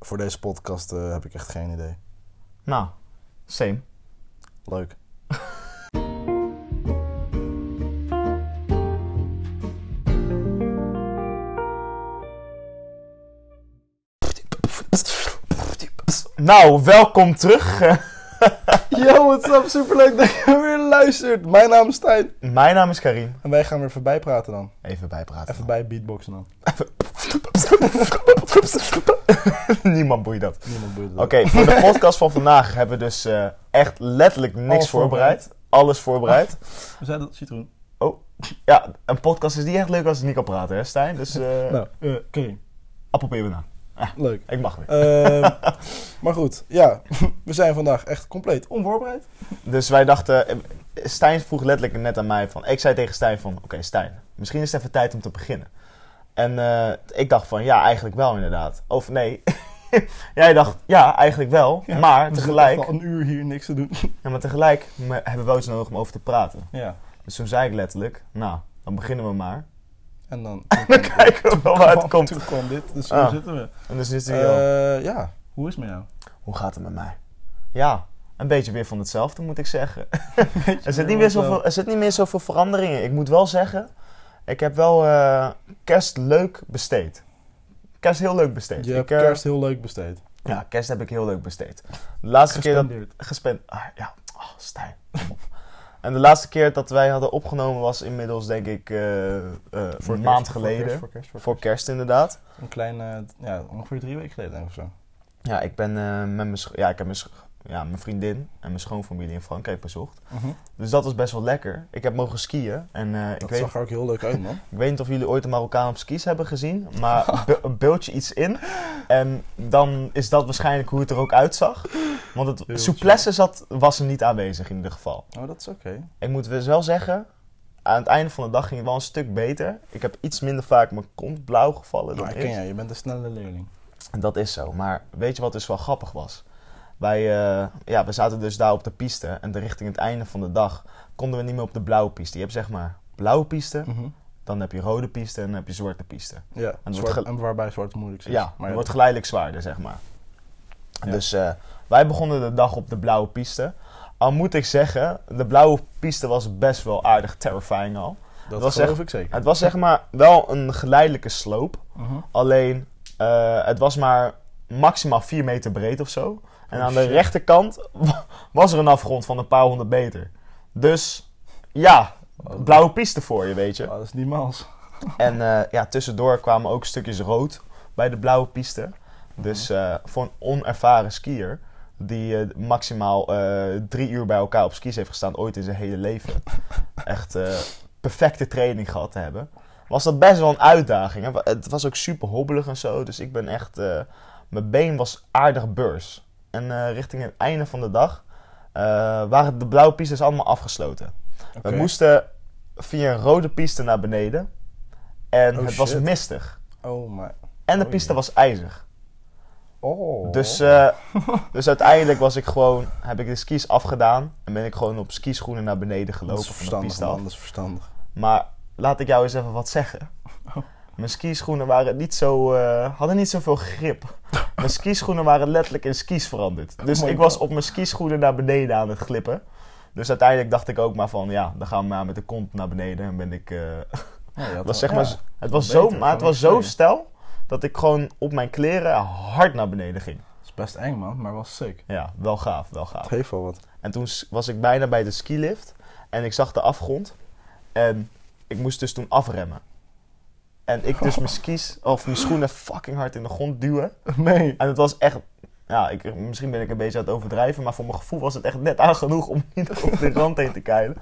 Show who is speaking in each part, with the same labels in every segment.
Speaker 1: Voor deze podcast eh, heb ik echt geen idee.
Speaker 2: Nou, same.
Speaker 1: Leuk.
Speaker 2: Nou, welkom terug.
Speaker 1: Yo, what's up? Superleuk dat je weer luistert. Mijn naam is Stijn.
Speaker 2: Mijn naam is Karim.
Speaker 1: En wij gaan weer voorbij praten dan.
Speaker 2: Even bijpraten.
Speaker 1: Even bij beatboxen dan.
Speaker 2: Niemand boeit dat.
Speaker 1: Niemand boeit het.
Speaker 2: Oké, voor de podcast van vandaag hebben we dus eh, echt letterlijk niks
Speaker 1: Alles
Speaker 2: voorbereid. Alles voorbereid.
Speaker 1: We zijn dat citroen.
Speaker 2: Ja, een podcast is niet echt leuk als ik niet kan praten, hè Stijn? Dus eh
Speaker 1: Nou, eh Karim.
Speaker 2: appelpeer banaan.
Speaker 1: Leuk.
Speaker 2: Ik mag weer.
Speaker 1: Ehm, maar goed, ja. We zijn vandaag echt compleet onvoorbereid.
Speaker 2: Dus wij dachten, eh, Stijn vroeg letterlijk net aan mij van, ik zei tegen Stijn van, oké Stijn, misschien is het even tijd om te beginnen. En eh, ik dacht van, ja eigenlijk wel inderdaad. Of nee, jij dacht, ja eigenlijk wel,
Speaker 1: Ja,
Speaker 2: maar
Speaker 1: We
Speaker 2: tegelijk,
Speaker 1: zitten al een uur hier niks te doen.
Speaker 2: ja, maar tegelijk me- hebben we wel iets nodig om over te praten.
Speaker 1: Ja.
Speaker 2: Dus toen zei ik letterlijk, nou, dan beginnen we maar.
Speaker 1: En dan...
Speaker 2: Dan kijken we wel waar het komt.
Speaker 1: Toen kwam dit, dus
Speaker 2: Ah.
Speaker 1: hier zitten we.
Speaker 2: En dus zitten we hier al.
Speaker 1: Eh ja. Hoe is het met jou?
Speaker 2: Hoe gaat het met mij? Ja, een beetje weer van hetzelfde moet ik zeggen. Er zit, niet
Speaker 1: weer
Speaker 2: meer zoveel, er zit niet meer zoveel verandering in. Ik moet wel zeggen, ik heb wel eh, kerst leuk besteed. Kerst heel leuk besteed.
Speaker 1: Je
Speaker 2: ik,
Speaker 1: hebt
Speaker 2: eh,
Speaker 1: kerst heel leuk besteed.
Speaker 2: Ja, kerst heb ik heel leuk besteed. De laatste keer
Speaker 1: Gespendeerd.
Speaker 2: dat... Gespend... Ah, ja, oh, Stijn. kom op. en de laatste keer dat wij hadden opgenomen was inmiddels denk ik eh, eh, een maand geleden. Voor kerst,
Speaker 1: Voor kerst, voor kerst, voor
Speaker 2: inderdaad.
Speaker 1: kerst. Een kleine, ja, ongeveer drie weken geleden denk ik of zo.
Speaker 2: Ja, ik ben eh, met mijn, sch- ja, ik heb mijn, sch- ja, mijn vriendin en mijn schoonfamilie in Frankrijk bezocht.
Speaker 1: Mhm.
Speaker 2: Dus dat was best wel lekker. Ik heb mogen skiën en eh, ik
Speaker 1: Dat
Speaker 2: weet
Speaker 1: zag er ook heel leuk uit, man.
Speaker 2: Ik weet niet of jullie ooit een Marokkaan op skis hebben gezien, maar be- beeld je iets in. En dan is dat waarschijnlijk hoe het er ook uitzag. Want
Speaker 1: Heel
Speaker 2: het souplesse zat, was er niet aanwezig in ieder geval.
Speaker 1: Oh, dat is oké.
Speaker 2: Ik moet dus wel zeggen, aan het einde van de dag ging het wel een stuk beter. Ik heb iets minder vaak mijn kont blauw gevallen dan
Speaker 1: Maar ken
Speaker 2: eerst.
Speaker 1: jij, je bent een snelle leerling.
Speaker 2: Dat is zo, maar weet je wat dus wel grappig was? Wij, eh, ja, we zaten dus daar op de piste en richting het einde van de dag konden we niet meer op de blauwe piste. Je hebt zeg maar blauwe piste, dan heb je rode piste en dan heb je zwarte piste.
Speaker 1: Ja,
Speaker 2: wordt
Speaker 1: zwart-
Speaker 2: gel-
Speaker 1: Mhm. en waarbij zwart moeilijk is.
Speaker 2: Ja, maar
Speaker 1: ja,
Speaker 2: het wordt geleidelijk zwaarder, zeg maar.
Speaker 1: Ja.
Speaker 2: Dus eh, wij begonnen de dag op de blauwe piste. Al moet ik zeggen, de blauwe piste was best wel aardig terrifying al.
Speaker 1: dat
Speaker 2: was
Speaker 1: geloof
Speaker 2: echt-
Speaker 1: ik zeker.
Speaker 2: Het was zeg maar wel een geleidelijke sloop.
Speaker 1: Mhm.
Speaker 2: Alleen, eh, het was maar maximaal 4 meter breed of zo. En
Speaker 1: Oh,
Speaker 2: aan de
Speaker 1: shit.
Speaker 2: rechterkant wa- was er een afgrond van een paar honderd meter. Dus ja,
Speaker 1: Oh,
Speaker 2: blauwe piste voor je, weet je.
Speaker 1: oh, dat is niet mals.
Speaker 2: En eh, ja, tussendoor kwamen ook stukjes rood bij de blauwe piste. Dus eh, voor een onervaren skier, die eh, maximaal eh, drie uur bij elkaar op skis heeft gestaan, ooit in zijn hele leven, echt eh, perfecte training gehad te hebben, was dat best wel een uitdaging. hè. Wa- Het was ook super hobbelig en zo, dus ik ben echt, eh, mijn been was aardig beurs. En eh, richting het einde van de dag eh, waren de blauwe pistes allemaal afgesloten.
Speaker 1: Oké.
Speaker 2: We moesten via een rode piste naar beneden. En
Speaker 1: Oh,
Speaker 2: het was
Speaker 1: shit.
Speaker 2: mistig.
Speaker 1: Oh, maar...
Speaker 2: En de
Speaker 1: Oh,
Speaker 2: piste
Speaker 1: jee.
Speaker 2: was ijzig.
Speaker 1: Oh.
Speaker 2: Dus, eh, dus uiteindelijk was ik gewoon, heb ik de skis afgedaan. En ben ik gewoon op skischoenen naar beneden
Speaker 1: dat
Speaker 2: gelopen
Speaker 1: is
Speaker 2: van de
Speaker 1: verstandig,
Speaker 2: piste
Speaker 1: man.
Speaker 2: af.
Speaker 1: Dat is verstandig.
Speaker 2: Maar laat ik jou eens even wat zeggen.
Speaker 1: Oh.
Speaker 2: Mijn skischoenen waren niet zo, eh, hadden niet zoveel grip. Mijn skischoenen waren letterlijk in skis veranderd. Dus
Speaker 1: Oh my
Speaker 2: ik was
Speaker 1: God.
Speaker 2: op mijn skischoenen naar beneden aan het glippen. Dus uiteindelijk dacht ik ook maar van, ja, dan gaan we maar met de kont naar beneden. En ben ik eh,
Speaker 1: Ja, je had
Speaker 2: Het was,
Speaker 1: wel-
Speaker 2: zeg maar,
Speaker 1: ja.
Speaker 2: het was
Speaker 1: beter,
Speaker 2: zo, maar het
Speaker 1: gewoon
Speaker 2: was zo
Speaker 1: extreem.
Speaker 2: stel dat ik gewoon op mijn kleren hard naar beneden ging.
Speaker 1: Dat is best eng, man, maar wel sick.
Speaker 2: Ja, wel gaaf, wel gaaf.
Speaker 1: Het heeft wel wat.
Speaker 2: En toen s- was ik bijna bij de skilift en ik zag de afgrond. En ik moest dus toen afremmen. En ik dus mijn skis of mijn schoenen fucking hard in de grond duwen.
Speaker 1: Nee.
Speaker 2: En het was echt, ja, ik, misschien ben ik een beetje aan het overdrijven, maar voor mijn gevoel was het echt net aan genoeg om niet op de rand heen te keilen.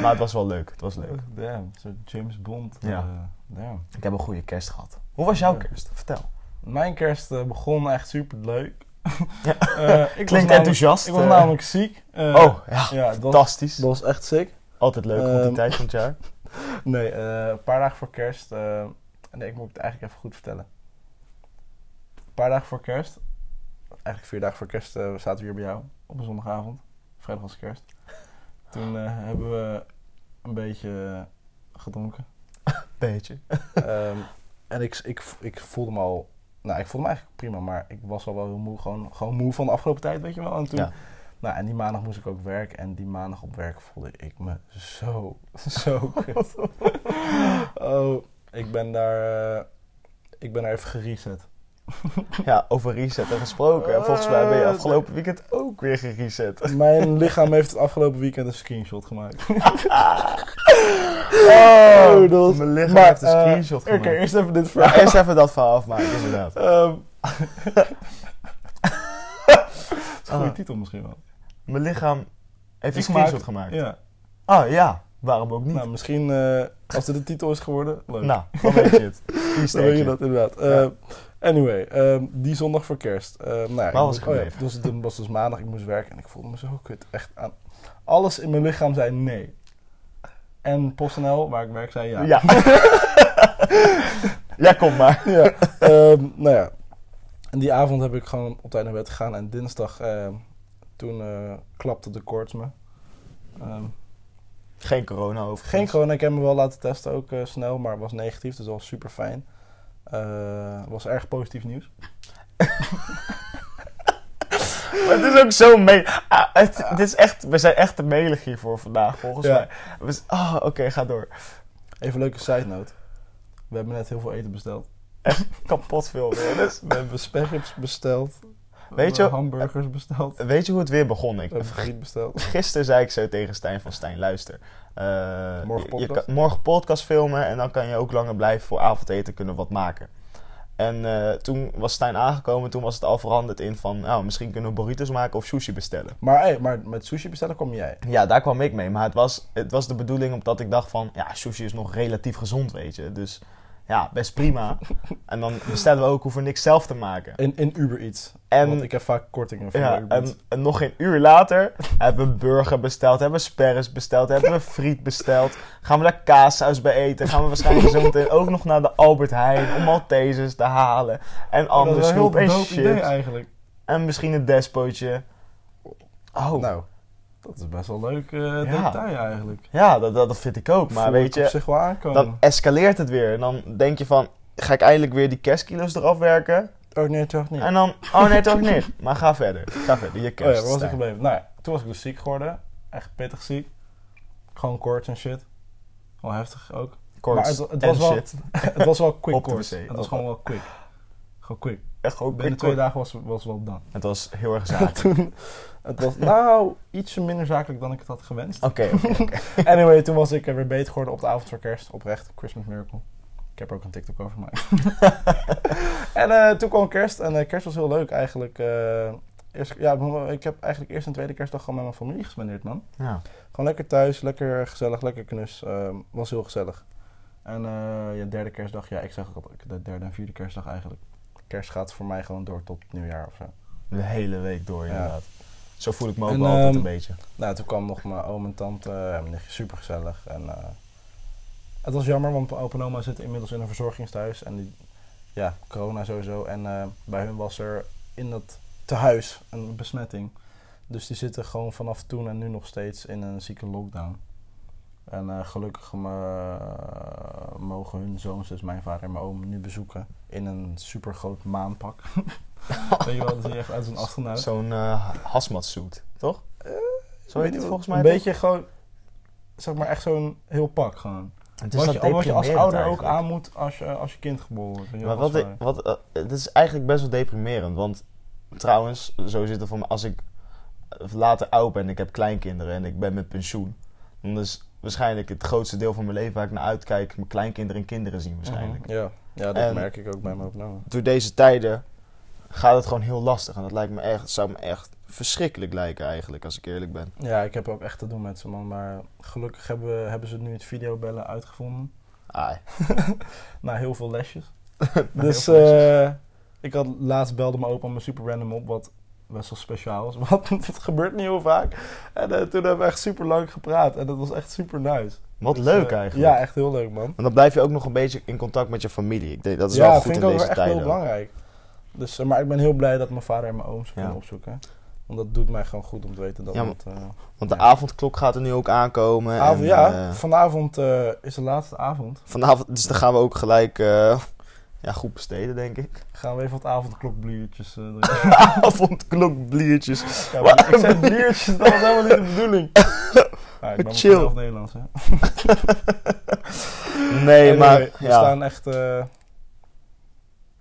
Speaker 2: Maar het was wel leuk, het was leuk.
Speaker 1: Damn, een soort James Bond.
Speaker 2: Ja.
Speaker 1: eh, damn.
Speaker 2: Ik heb een goede kerst gehad. Hoe was jouw
Speaker 1: Ja.
Speaker 2: kerst? Vertel.
Speaker 1: Mijn kerst eh, begon echt super leuk.
Speaker 2: Ja.
Speaker 1: ik was
Speaker 2: Klinkt
Speaker 1: namelijk-
Speaker 2: enthousiast.
Speaker 1: nou- Ik was
Speaker 2: eh.
Speaker 1: namelijk ziek. Eh,
Speaker 2: Oh, ja.
Speaker 1: ja, dat was,
Speaker 2: Fantastisch.
Speaker 1: dat was echt sick.
Speaker 2: Altijd leuk rond die
Speaker 1: Ehm,
Speaker 2: tijd van het jaar.
Speaker 1: Nee, eh, een paar dagen voor kerst. eh, nee, ik moet het eigenlijk even goed vertellen. Een paar dagen voor kerst. Eigenlijk vier dagen voor kerst eh, zaten we hier bij jou op een zondagavond. Vrijdag was kerst. Toen eh, hebben we een beetje eh, gedronken.
Speaker 2: Beetje.
Speaker 1: Ehm, en ik, ik, ik voelde me al nou, ik voelde me eigenlijk prima, maar ik was al wel heel moe. Gewoon, gewoon moe van de afgelopen tijd, weet je wel. En toen,
Speaker 2: Ja.
Speaker 1: nou, en die maandag moest ik ook werken. En die maandag op werk voelde ik me zo, zo kut. oh, ik ben daar, eh, ik ben daar even gereset.
Speaker 2: Ja, over resetten gesproken. En volgens mij ben
Speaker 1: Eh,
Speaker 2: je afgelopen weekend ook weer
Speaker 1: Oh,
Speaker 2: gereset.
Speaker 1: Mijn lichaam heeft het afgelopen weekend een screenshot gemaakt.
Speaker 2: Oh,
Speaker 1: dat was-
Speaker 2: Mijn lichaam
Speaker 1: Maar,
Speaker 2: heeft een
Speaker 1: eh,
Speaker 2: screenshot
Speaker 1: Oké,
Speaker 2: gemaakt.
Speaker 1: eerst even dit verhaal.
Speaker 2: Ja, eerst even dat verhaal afmaken, inderdaad.
Speaker 1: Ehm. dat is een goede
Speaker 2: Ah.
Speaker 1: titel misschien wel.
Speaker 2: Mijn lichaam heeft een
Speaker 1: Ik
Speaker 2: screenshot
Speaker 1: maak-
Speaker 2: gemaakt.
Speaker 1: Ja.
Speaker 2: Ah ja, waarom ook niet?
Speaker 1: Nou, misschien eh, als dit de titel is geworden. Leuk.
Speaker 2: Nou, dan weet je het.
Speaker 1: dan weet je dat inderdaad.
Speaker 2: Ja.
Speaker 1: Eh, anyway, ehm, die zondag voor kerst. Ehm, nou ja, ik
Speaker 2: was
Speaker 1: moest-
Speaker 2: ik
Speaker 1: oh ja,
Speaker 2: gebleven?
Speaker 1: dus het was dus maandag, ik moest werken en ik voelde me zo kut. Echt aan. Alles in mijn lichaam zei nee. En PostNL, waar ik werk, zei ja.
Speaker 2: Ja. Ja. ja, kom maar.
Speaker 1: Ja, ehm, nou ja. En die avond heb ik gewoon op tijd naar bed gegaan. En dinsdag, ehm, toen eh, klapte de koorts me. Ehm,
Speaker 2: Geen corona over.
Speaker 1: geen corona, ik heb me wel laten testen ook eh, snel, maar was negatief. Dus dat was super fijn. Eh, was erg positief nieuws.
Speaker 2: Maar het is ook zo mee. Ah, het, het is echt, we zijn echt te melig hier voor vandaag, volgens
Speaker 1: Ja.
Speaker 2: mij. We z- Ah, oké, ga door.
Speaker 1: Even een leuke side note. We hebben net heel veel eten besteld.
Speaker 2: Kapot veel weer. Dus.
Speaker 1: We hebben sperrips besteld. We
Speaker 2: Weet je-
Speaker 1: hebben hamburgers besteld.
Speaker 2: Weet je hoe het weer begon? Ik,
Speaker 1: We hebben friet besteld.
Speaker 2: gisteren zei ik zo tegen Stijn van Stijn, luister. eh,
Speaker 1: Morgen
Speaker 2: je- je
Speaker 1: podcast?
Speaker 2: kan- morgen podcast filmen en dan kan je ook langer blijven voor avondeten kunnen wat maken. En eh, toen was Stijn aangekomen, toen was het al veranderd in van, nou, misschien kunnen we burritos maken of sushi bestellen.
Speaker 1: Maar, hey, maar met sushi bestellen kom jij.
Speaker 2: Ja, daar kwam ik mee. Maar het was, het was de bedoeling omdat ik dacht van... Ja, sushi is nog relatief gezond, weet je. Dus ja, best prima. en dan bestellen we ook, hoeven niks zelf te maken.
Speaker 1: In, in Uber Eats. Want
Speaker 2: En,
Speaker 1: ik heb vaak kortingen voor
Speaker 2: ja,
Speaker 1: Uber Eats.
Speaker 2: en, en nog geen uur later hebben we een burger besteld. Hebben we sperris besteld. Hebben we friet besteld. Gaan we daar kaassaus bij eten. Gaan we waarschijnlijk zo meteen ook nog naar de Albert Heijn... om Maltesers te halen. En
Speaker 1: Oh,
Speaker 2: andere snoep en
Speaker 1: dope idee
Speaker 2: shit.
Speaker 1: eigenlijk.
Speaker 2: En misschien een despootje. Oh,
Speaker 1: Nou, dat is best wel leuk eh, detail eigenlijk.
Speaker 2: ja, dat, dat dat vind ik ook. Maar
Speaker 1: Voel
Speaker 2: weet
Speaker 1: ik
Speaker 2: je...
Speaker 1: op zich wel aankomen.
Speaker 2: dan escaleert het weer. En dan denk je van, ga ik eindelijk weer die kerstkilo's eraf werken?
Speaker 1: Oh nee, toch niet.
Speaker 2: En dan, oh nee, toch niet. Maar ga verder. Ga verder,
Speaker 1: oh
Speaker 2: je
Speaker 1: ja,
Speaker 2: kerst.
Speaker 1: waar was ik
Speaker 2: Stijn.
Speaker 1: gebleven? Nou ja, toen was ik dus ziek geworden. Echt pittig ziek. Gewoon koorts en shit. Wel heftig ook.
Speaker 2: Koorts
Speaker 1: Maar het- het
Speaker 2: en
Speaker 1: was wel-
Speaker 2: shit.
Speaker 1: het was wel quick
Speaker 2: Op de
Speaker 1: koorts.
Speaker 2: wc.
Speaker 1: Het was gewoon wel quick. Gewoon quick.
Speaker 2: Echt ook
Speaker 1: Binnen
Speaker 2: ik
Speaker 1: twee
Speaker 2: koor-
Speaker 1: dagen was, was wel dan.
Speaker 2: Het was heel erg
Speaker 1: En
Speaker 2: zaak.
Speaker 1: toen, het was nou ietsje minder zakelijk dan ik het had gewenst.
Speaker 2: Oké, oké.
Speaker 1: Anyway, toen was ik eh, weer beter geworden op de avond voor kerst. Oprecht, Christmas Miracle. Ik heb er ook een TikTok over gemaakt. en eh, toen kwam kerst en eh, kerst was heel leuk eigenlijk. Eh, eerst, ja, ik heb eigenlijk eerst en tweede kerstdag gewoon met mijn familie gespendeerd, man.
Speaker 2: ja.
Speaker 1: Gewoon lekker thuis, lekker gezellig, lekker knus. Ehm, was heel gezellig. En eh, ja, derde kerstdag, ja, ik zeg ook altijd de derde en vierde kerstdag eigenlijk. Kerst gaat voor mij gewoon door tot nieuwjaar of zo.
Speaker 2: De hele week door,
Speaker 1: Ja.
Speaker 2: inderdaad. Zo voel ik me ook
Speaker 1: En,
Speaker 2: wel altijd een
Speaker 1: ehm,
Speaker 2: beetje.
Speaker 1: Nou, toen kwam nog mijn oom en tante, eh, mijn nichtje, super gezellig. En eh, het was jammer, want mijn opa en oma zitten inmiddels in een verzorgingstehuis. En die, ja, corona sowieso. En eh, bij hun was er in dat tehuis een besmetting. Dus die zitten gewoon vanaf toen en nu nog steeds in een zieke lockdown. En eh, gelukkig me- mogen hun zoons, dus mijn vader en mijn oom, nu bezoeken in een super groot maanpak. Weet je wel, dat zie je echt uit zo'n astronaut.
Speaker 2: Zo'n eh hazmat suit, toch? Zo
Speaker 1: Weet je
Speaker 2: heet het
Speaker 1: wat-
Speaker 2: volgens mij.
Speaker 1: Een
Speaker 2: toch?
Speaker 1: beetje gewoon, zeg maar echt zo'n heel pak gewoon.
Speaker 2: Het
Speaker 1: Wat
Speaker 2: is dat
Speaker 1: je, wat je als
Speaker 2: deprimerend
Speaker 1: ouder
Speaker 2: eigenlijk.
Speaker 1: ook aan moet als je, als je kind geboren wordt. weet je
Speaker 2: Maar
Speaker 1: wel,
Speaker 2: wat,
Speaker 1: als
Speaker 2: ik-
Speaker 1: vader.
Speaker 2: wat, eh, het is eigenlijk best wel deprimerend. Want trouwens, zo zit het voor me. Als ik later oud ben, ik heb kleinkinderen en ik ben met pensioen. Dan is waarschijnlijk het grootste deel van mijn leven waar ik naar uitkijk, mijn kleinkinderen en kinderen zien waarschijnlijk.
Speaker 1: Mhm, Ja, ja dat
Speaker 2: En-
Speaker 1: merk ik ook bij mijn opname.
Speaker 2: Door deze tijden gaat het gewoon heel lastig. En dat lijkt me echt, het zou me echt verschrikkelijk lijken eigenlijk, als ik eerlijk ben.
Speaker 1: Ja, ik heb ook echt te doen met ze man. Maar gelukkig hebben, we- hebben ze nu het videobellen uitgevonden.
Speaker 2: Ai.
Speaker 1: Na heel veel lesjes.
Speaker 2: heel
Speaker 1: dus
Speaker 2: veel
Speaker 1: eh, ik had laatst belde mijn opa me super random op. Wat best wel speciaal is. Want het gebeurt niet heel vaak. En eh, toen hebben we echt super lang gepraat. En dat was echt super nice.
Speaker 2: Wat
Speaker 1: Dus,
Speaker 2: leuk
Speaker 1: eh,
Speaker 2: eigenlijk.
Speaker 1: Ja, echt heel leuk man.
Speaker 2: Want dan blijf je ook nog een beetje in contact met je familie. Ik denk, dat is
Speaker 1: ja,
Speaker 2: wel
Speaker 1: dat
Speaker 2: goed
Speaker 1: vind
Speaker 2: in
Speaker 1: ik ook
Speaker 2: deze
Speaker 1: wel echt heel
Speaker 2: tijden. ook.
Speaker 1: belangrijk. Dus, eh, maar ik ben heel blij dat mijn vader en mijn ooms kunnen
Speaker 2: Ja.
Speaker 1: opzoeken. Want dat doet mij gewoon goed om te weten dat
Speaker 2: Ja, maar-
Speaker 1: het... eh,
Speaker 2: Want de
Speaker 1: Ja.
Speaker 2: avondklok gaat er nu ook aankomen.
Speaker 1: avond,
Speaker 2: en,
Speaker 1: ja,
Speaker 2: eh,
Speaker 1: vanavond eh, is de laatste avond.
Speaker 2: Vanavond, dus dan gaan we ook gelijk eh, ja, goed besteden, denk ik.
Speaker 1: Gaan we even wat avondklokbliertjes eh drinken.
Speaker 2: Avondklokbliertjes.
Speaker 1: Ja, maar ik zei biertjes, dat was helemaal niet de bedoeling. Nou, ik ben
Speaker 2: Chill.
Speaker 1: Chill. Nederlands, hè.
Speaker 2: Nee,
Speaker 1: Anyway,
Speaker 2: maar
Speaker 1: We
Speaker 2: ja,
Speaker 1: staan echt... eh,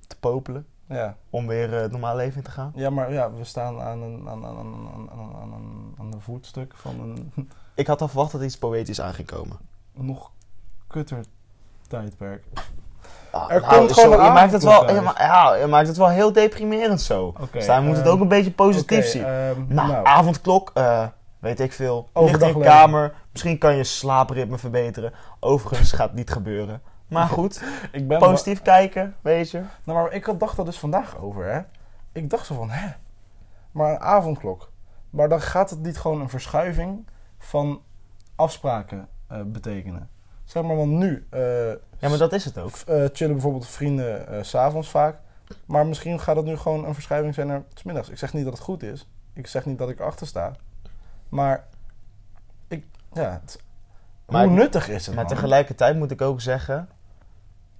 Speaker 2: te popelen
Speaker 1: ja.
Speaker 2: om weer eh, het normaal leven in te gaan.
Speaker 1: ja, maar ja, we staan aan een, aan, aan, aan, aan, aan, aan, aan, aan een voetstuk van een
Speaker 2: Ik had al verwacht dat er iets poëtisch aan ging komen.
Speaker 1: nog kutter tijdperk.
Speaker 2: Ah,
Speaker 1: Er komt gewoon een
Speaker 2: je maakt het wel,
Speaker 1: avondklok
Speaker 2: je,
Speaker 1: uit.
Speaker 2: ma- ja, je maakt het wel heel deprimerend zo.
Speaker 1: Oké.
Speaker 2: dus daar moet het
Speaker 1: ehm,
Speaker 2: ook een beetje positief
Speaker 1: oké,
Speaker 2: zien.
Speaker 1: ehm,
Speaker 2: nou,
Speaker 1: nou,
Speaker 2: avondklok, eh, weet ik veel. Ligt in
Speaker 1: Overdag
Speaker 2: je
Speaker 1: leven.
Speaker 2: kamer. Misschien kan je slaapritme verbeteren. Overigens gaat het niet gebeuren. Maar goed,
Speaker 1: ik ben
Speaker 2: positief kijken, weet je.
Speaker 1: Nou, maar ik had- dacht daar dus vandaag over, hè. Ik dacht zo van, hè, maar een avondklok. Maar dan gaat het niet gewoon een verschuiving van afspraken eh, betekenen. Zeg maar, want nu eh,
Speaker 2: Ja, maar dat is het ook.
Speaker 1: v- eh, chillen bijvoorbeeld vrienden eh, s s'avonds vaak. Maar misschien gaat het nu gewoon een verschuiving zijn naar 's middags. Ik zeg niet dat het goed is. Ik zeg niet dat ik achter sta. Maar ik, ja, het-
Speaker 2: Maar
Speaker 1: hoe
Speaker 2: ik-
Speaker 1: nuttig is het,
Speaker 2: Maar
Speaker 1: man?
Speaker 2: tegelijkertijd moet ik ook zeggen,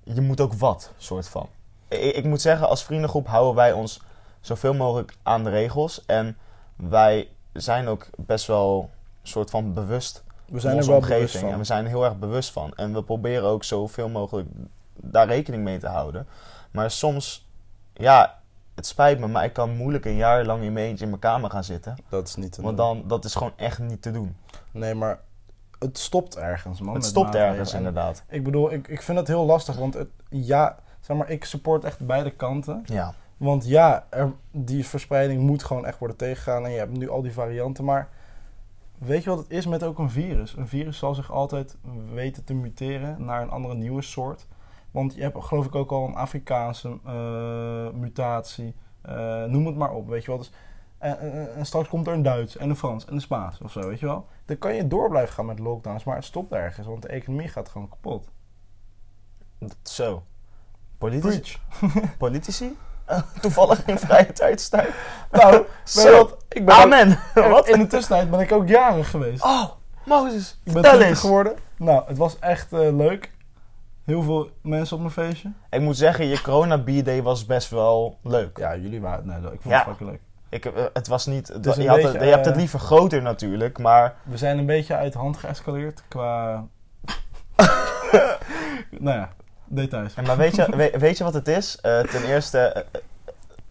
Speaker 2: je moet ook wat, soort van. Ik, ik moet zeggen, als vriendengroep houden wij ons zoveel mogelijk aan de regels. En wij zijn ook best wel soort van bewust
Speaker 1: We
Speaker 2: van
Speaker 1: zijn er
Speaker 2: onze
Speaker 1: wel bewust
Speaker 2: omgeving.
Speaker 1: van.
Speaker 2: En we zijn er heel erg bewust van. En we proberen ook zoveel mogelijk daar rekening mee te houden. Maar soms, ja, het spijt me, maar ik kan moeilijk een jaar lang in mijn eentje in mijn kamer gaan zitten.
Speaker 1: Dat is niet te
Speaker 2: Want
Speaker 1: doen.
Speaker 2: dan, dat is gewoon echt niet te doen.
Speaker 1: Nee, maar het stopt ergens, man.
Speaker 2: Het
Speaker 1: met
Speaker 2: stopt
Speaker 1: maatregelen.
Speaker 2: ergens
Speaker 1: En
Speaker 2: inderdaad.
Speaker 1: Ik bedoel, ik, ik vind het heel lastig, want het, ja, zeg maar, ik support echt beide kanten.
Speaker 2: Ja.
Speaker 1: Want ja, er, die verspreiding moet gewoon echt worden tegengegaan en je hebt nu al die varianten, maar weet je wat het is met ook een virus? Een virus zal zich altijd weten te muteren naar een andere nieuwe soort. Want je hebt geloof ik ook al een Afrikaanse eh, mutatie, eh, noem het maar op, weet je wel. Dus en, en- en straks komt er een Duits en een Frans en een Spaans of zo, weet je wel. Dan kan je door blijven gaan met lockdowns, maar het stopt ergens, want de economie gaat gewoon kapot.
Speaker 2: Zo. Politici,
Speaker 1: Preach.
Speaker 2: politici? Eh, Toevallig in vrije tijdstijd.
Speaker 1: Nou, weet je
Speaker 2: Zo.
Speaker 1: wat? Ik ben ook-
Speaker 2: Amen. Wat?
Speaker 1: In de tussentijd ben ik ook jarig geweest.
Speaker 2: Oh, Mozes.
Speaker 1: ik ben
Speaker 2: Vertel
Speaker 1: 20
Speaker 2: eens.
Speaker 1: geworden. Nou, het was echt eh, leuk. Heel veel mensen op mijn feestje.
Speaker 2: Ik moet zeggen, je corona b was best wel leuk.
Speaker 1: Ja, jullie waren... Nee, ik vond
Speaker 2: Ja.
Speaker 1: het fucking leuk.
Speaker 2: Ik, heb, eh, het was niet...
Speaker 1: is
Speaker 2: je,
Speaker 1: een
Speaker 2: had
Speaker 1: beetje,
Speaker 2: het- je hebt het
Speaker 1: eh,
Speaker 2: liever groter natuurlijk, maar...
Speaker 1: We zijn een beetje uit de hand geëscaleerd qua... nou ja, details.
Speaker 2: Ja, Maar weet je, weet, weet je wat het is? Eh, ten eerste, eh, eh,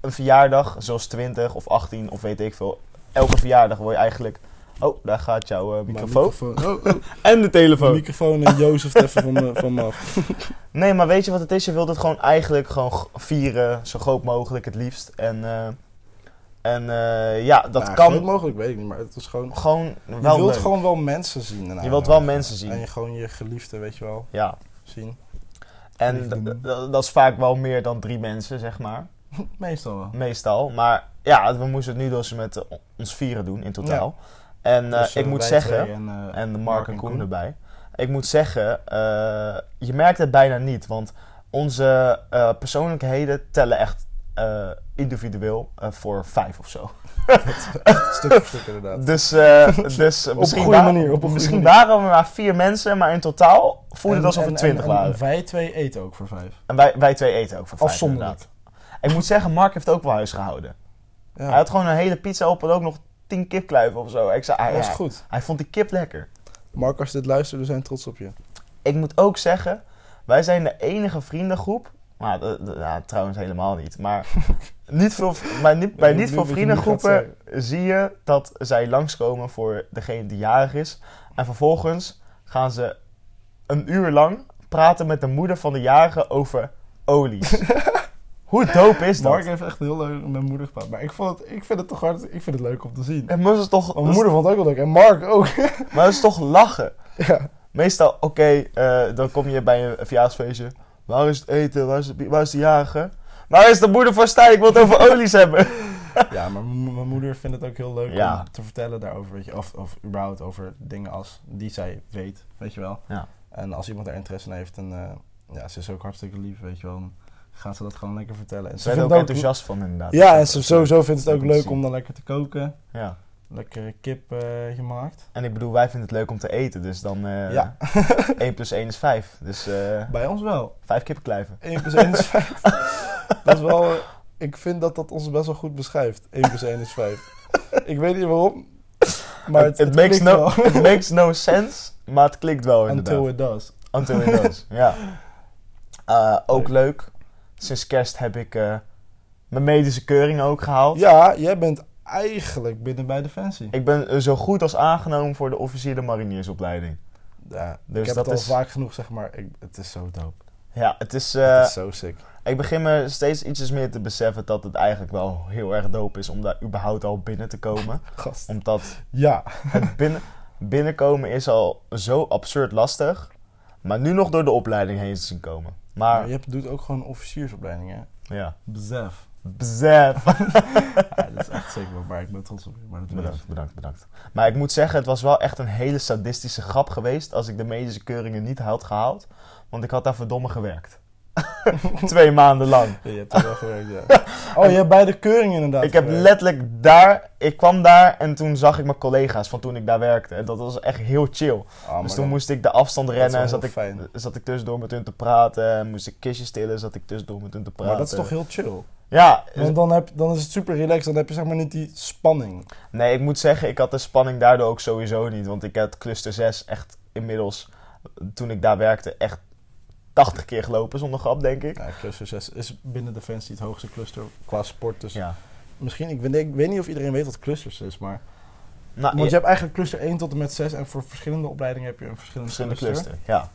Speaker 2: een verjaardag zoals 20 of 18 of weet ik veel. Elke verjaardag word je eigenlijk... Oh, daar gaat jouw eh, microfoon.
Speaker 1: Oh, oh,
Speaker 2: En de
Speaker 1: de
Speaker 2: telefoon.
Speaker 1: microfoon en Jozef even van me, van me af.
Speaker 2: Nee, maar weet je wat het is? Je wilt het gewoon eigenlijk gewoon g- vieren, zo groot mogelijk het liefst. En, eh, en eh, ja, dat
Speaker 1: Nou,
Speaker 2: kan
Speaker 1: groot mogelijk weet ik niet, maar het is gewoon...
Speaker 2: gewoon
Speaker 1: Je
Speaker 2: wel
Speaker 1: wilt
Speaker 2: leuk.
Speaker 1: gewoon wel mensen zien. daarna.
Speaker 2: Je wilt wel mensen zien.
Speaker 1: En je gewoon je geliefde, weet je wel,
Speaker 2: Ja,
Speaker 1: zien.
Speaker 2: en
Speaker 1: Liefde.
Speaker 2: d- d- dat is vaak wel meer dan drie mensen, zeg maar.
Speaker 1: Meestal wel.
Speaker 2: Meestal. Maar ja, we moesten het nu dus met eh, ons vieren doen in totaal. En eh,
Speaker 1: Dus, eh,
Speaker 2: ik moet
Speaker 1: wij
Speaker 2: zeggen...
Speaker 1: twee En, eh,
Speaker 2: En de Mark, en Koen,
Speaker 1: Koen.
Speaker 2: erbij. Ik moet zeggen, eh, je merkt het bijna niet. Want onze eh, persoonlijkheden tellen echt eh, individueel eh, voor vijf of zo.
Speaker 1: Stuk voor stuk inderdaad.
Speaker 2: Dus, eh, dus eh,
Speaker 1: een
Speaker 2: misschien,
Speaker 1: goede
Speaker 2: wa-
Speaker 1: manier, op een
Speaker 2: misschien
Speaker 1: goede
Speaker 2: waren we maar vier mensen, maar in totaal voelde het
Speaker 1: En-
Speaker 2: alsof
Speaker 1: en-
Speaker 2: we twintig
Speaker 1: en- en
Speaker 2: waren.
Speaker 1: wij twee eten ook voor vijf.
Speaker 2: En wij, wij twee eten ook voor vijf
Speaker 1: Afzonderlijk.
Speaker 2: inderdaad. Ik moet zeggen, Mark heeft ook wel huis gehouden. Hij had gewoon een hele pizza op en ook nog tien kipkluiven of zo. Ik zei, ah,
Speaker 1: dat is
Speaker 2: ja,
Speaker 1: goed.
Speaker 2: hij vond die kip lekker.
Speaker 1: Mark, als je dit luistert, we zijn trots op je.
Speaker 2: ik moet ook zeggen, wij zijn de enige vriendengroep. Nou, d- d- ja, trouwens helemaal niet. Maar niet veel, bij niet, bij
Speaker 1: ik
Speaker 2: niet
Speaker 1: weet
Speaker 2: veel
Speaker 1: wat je nu gaat
Speaker 2: vriendengroepen zie je dat zij langskomen voor degene die jarig is. En vervolgens gaan ze een uur lang praten met de moeder van de jarige over olies. Hoe dope is dat?
Speaker 1: Mark heeft echt heel leuk met mijn moeder gepraat. Maar ik, vond het, ik vind het toch hard, ik vind het leuk om te zien.
Speaker 2: En moest het dus toch,
Speaker 1: Mijn moeder vond het ook wel leuk. En Mark ook.
Speaker 2: Maar dat is toch lachen?
Speaker 1: Ja.
Speaker 2: Meestal, oké, eh, dan kom je bij een verjaarsfeestje. Waar is het eten? Waar is, de, bi- waar is de jager? Waar is de moeder van Stijn? Ik wil het over olies hebben.
Speaker 1: ja, maar m- mijn moeder vindt het ook heel leuk
Speaker 2: Ja.
Speaker 1: om te vertellen daarover. Weet je, of, of überhaupt over dingen als die zij weet, weet je wel.
Speaker 2: Ja.
Speaker 1: En als iemand daar interesse in heeft, dan eh, ja, ze is ook hartstikke lief, weet je wel. Dan gaat ze dat gewoon lekker vertellen. En
Speaker 2: Ze zijn er
Speaker 1: vindt
Speaker 2: ook
Speaker 1: het
Speaker 2: enthousiast van inderdaad.
Speaker 1: Ja, en ze, sowieso vindt het ook
Speaker 2: Leuk om te
Speaker 1: leuk om dan lekker te koken.
Speaker 2: Ja.
Speaker 1: Lekkere kip eh, gemaakt.
Speaker 2: En ik bedoel, wij vinden het leuk om te eten, dus dan eh
Speaker 1: Ja.
Speaker 2: 1 plus 1 is 5. Dus eh
Speaker 1: Bij ons wel.
Speaker 2: 5 kippenklijven.
Speaker 1: 1 plus 1 is 5. dat is wel... eh, Ik vind dat dat ons best wel goed beschrijft. 1 plus 1 is 5. ik weet niet waarom. Maar het,
Speaker 2: It
Speaker 1: het
Speaker 2: makes
Speaker 1: klinkt
Speaker 2: no,
Speaker 1: wel.
Speaker 2: it makes no sense, maar het klikt wel inderdaad.
Speaker 1: Until it does.
Speaker 2: Until it does, ja. Eh, ook leuk. Sinds kerst heb ik eh, mijn medische keuring ook gehaald.
Speaker 1: Ja, jij bent eigenlijk binnen bij Defensie.
Speaker 2: Ik ben eh, zo goed als aangenomen voor de officiële mariniersopleiding.
Speaker 1: Ja,
Speaker 2: Dus
Speaker 1: ik heb
Speaker 2: dat
Speaker 1: het al
Speaker 2: is-
Speaker 1: vaak genoeg, zeg maar. Ik, het is zo dope.
Speaker 2: Ja, het is,
Speaker 1: het
Speaker 2: eh,
Speaker 1: is zo sick.
Speaker 2: ik begin me steeds ietsjes meer te beseffen dat het eigenlijk wel heel erg dope is om daar überhaupt al binnen te komen.
Speaker 1: Gast.
Speaker 2: Omdat
Speaker 1: Ja.
Speaker 2: het binnen, binnenkomen is al zo absurd lastig. Maar nu nog door de opleiding heen te zien komen.
Speaker 1: Maar
Speaker 2: Maar
Speaker 1: je hebt- doet ook gewoon officiersopleiding, hè?
Speaker 2: ja,
Speaker 1: Besef.
Speaker 2: besef.
Speaker 1: Ja, dat is echt zeker waar, maar ik ben trots op je. Maar dat weet
Speaker 2: Bedankt,
Speaker 1: ik.
Speaker 2: bedankt, bedankt. Maar ik moet zeggen, het was wel echt een hele sadistische grap geweest als ik de medische keuringen niet had gehaald. Want ik had daar verdomme gewerkt. Twee maanden lang.
Speaker 1: Ja, je hebt er wel gewerkt, ja. Oh, je hebt bij de keuring inderdaad
Speaker 2: Ik heb
Speaker 1: gewerkt.
Speaker 2: letterlijk daar, ik kwam daar en toen zag ik mijn collega's van toen ik daar werkte. En dat was echt heel chill.
Speaker 1: Ah, maar
Speaker 2: Dus toen
Speaker 1: dan-
Speaker 2: moest ik de afstand
Speaker 1: is wel
Speaker 2: rennen en
Speaker 1: heel
Speaker 2: zat ik,
Speaker 1: fijn.
Speaker 2: zat ik tussendoor met hun te praten. En moest ik kistjes stillen, zat ik tussendoor met hun te praten.
Speaker 1: Maar dat is toch heel chill?
Speaker 2: Ja,
Speaker 1: Want dan, heb, dan is het super relaxed, dan heb je zeg maar niet die spanning.
Speaker 2: Nee, ik moet zeggen, ik had de spanning daardoor ook sowieso niet. Want ik had cluster 6 echt inmiddels, toen ik daar werkte, echt 80 keer gelopen zonder grap, denk ik.
Speaker 1: Ja, cluster 6 is binnen Defensie het hoogste cluster qua sport. Dus
Speaker 2: Ja.
Speaker 1: misschien, ik, weet- ik weet niet of iedereen weet wat clusters is, maar...
Speaker 2: Nou,
Speaker 1: Want je
Speaker 2: ja,
Speaker 1: hebt eigenlijk cluster 1 tot en met 6 en voor verschillende opleidingen heb je een verschillende,
Speaker 2: verschillende
Speaker 1: cluster.
Speaker 2: cluster. Ja,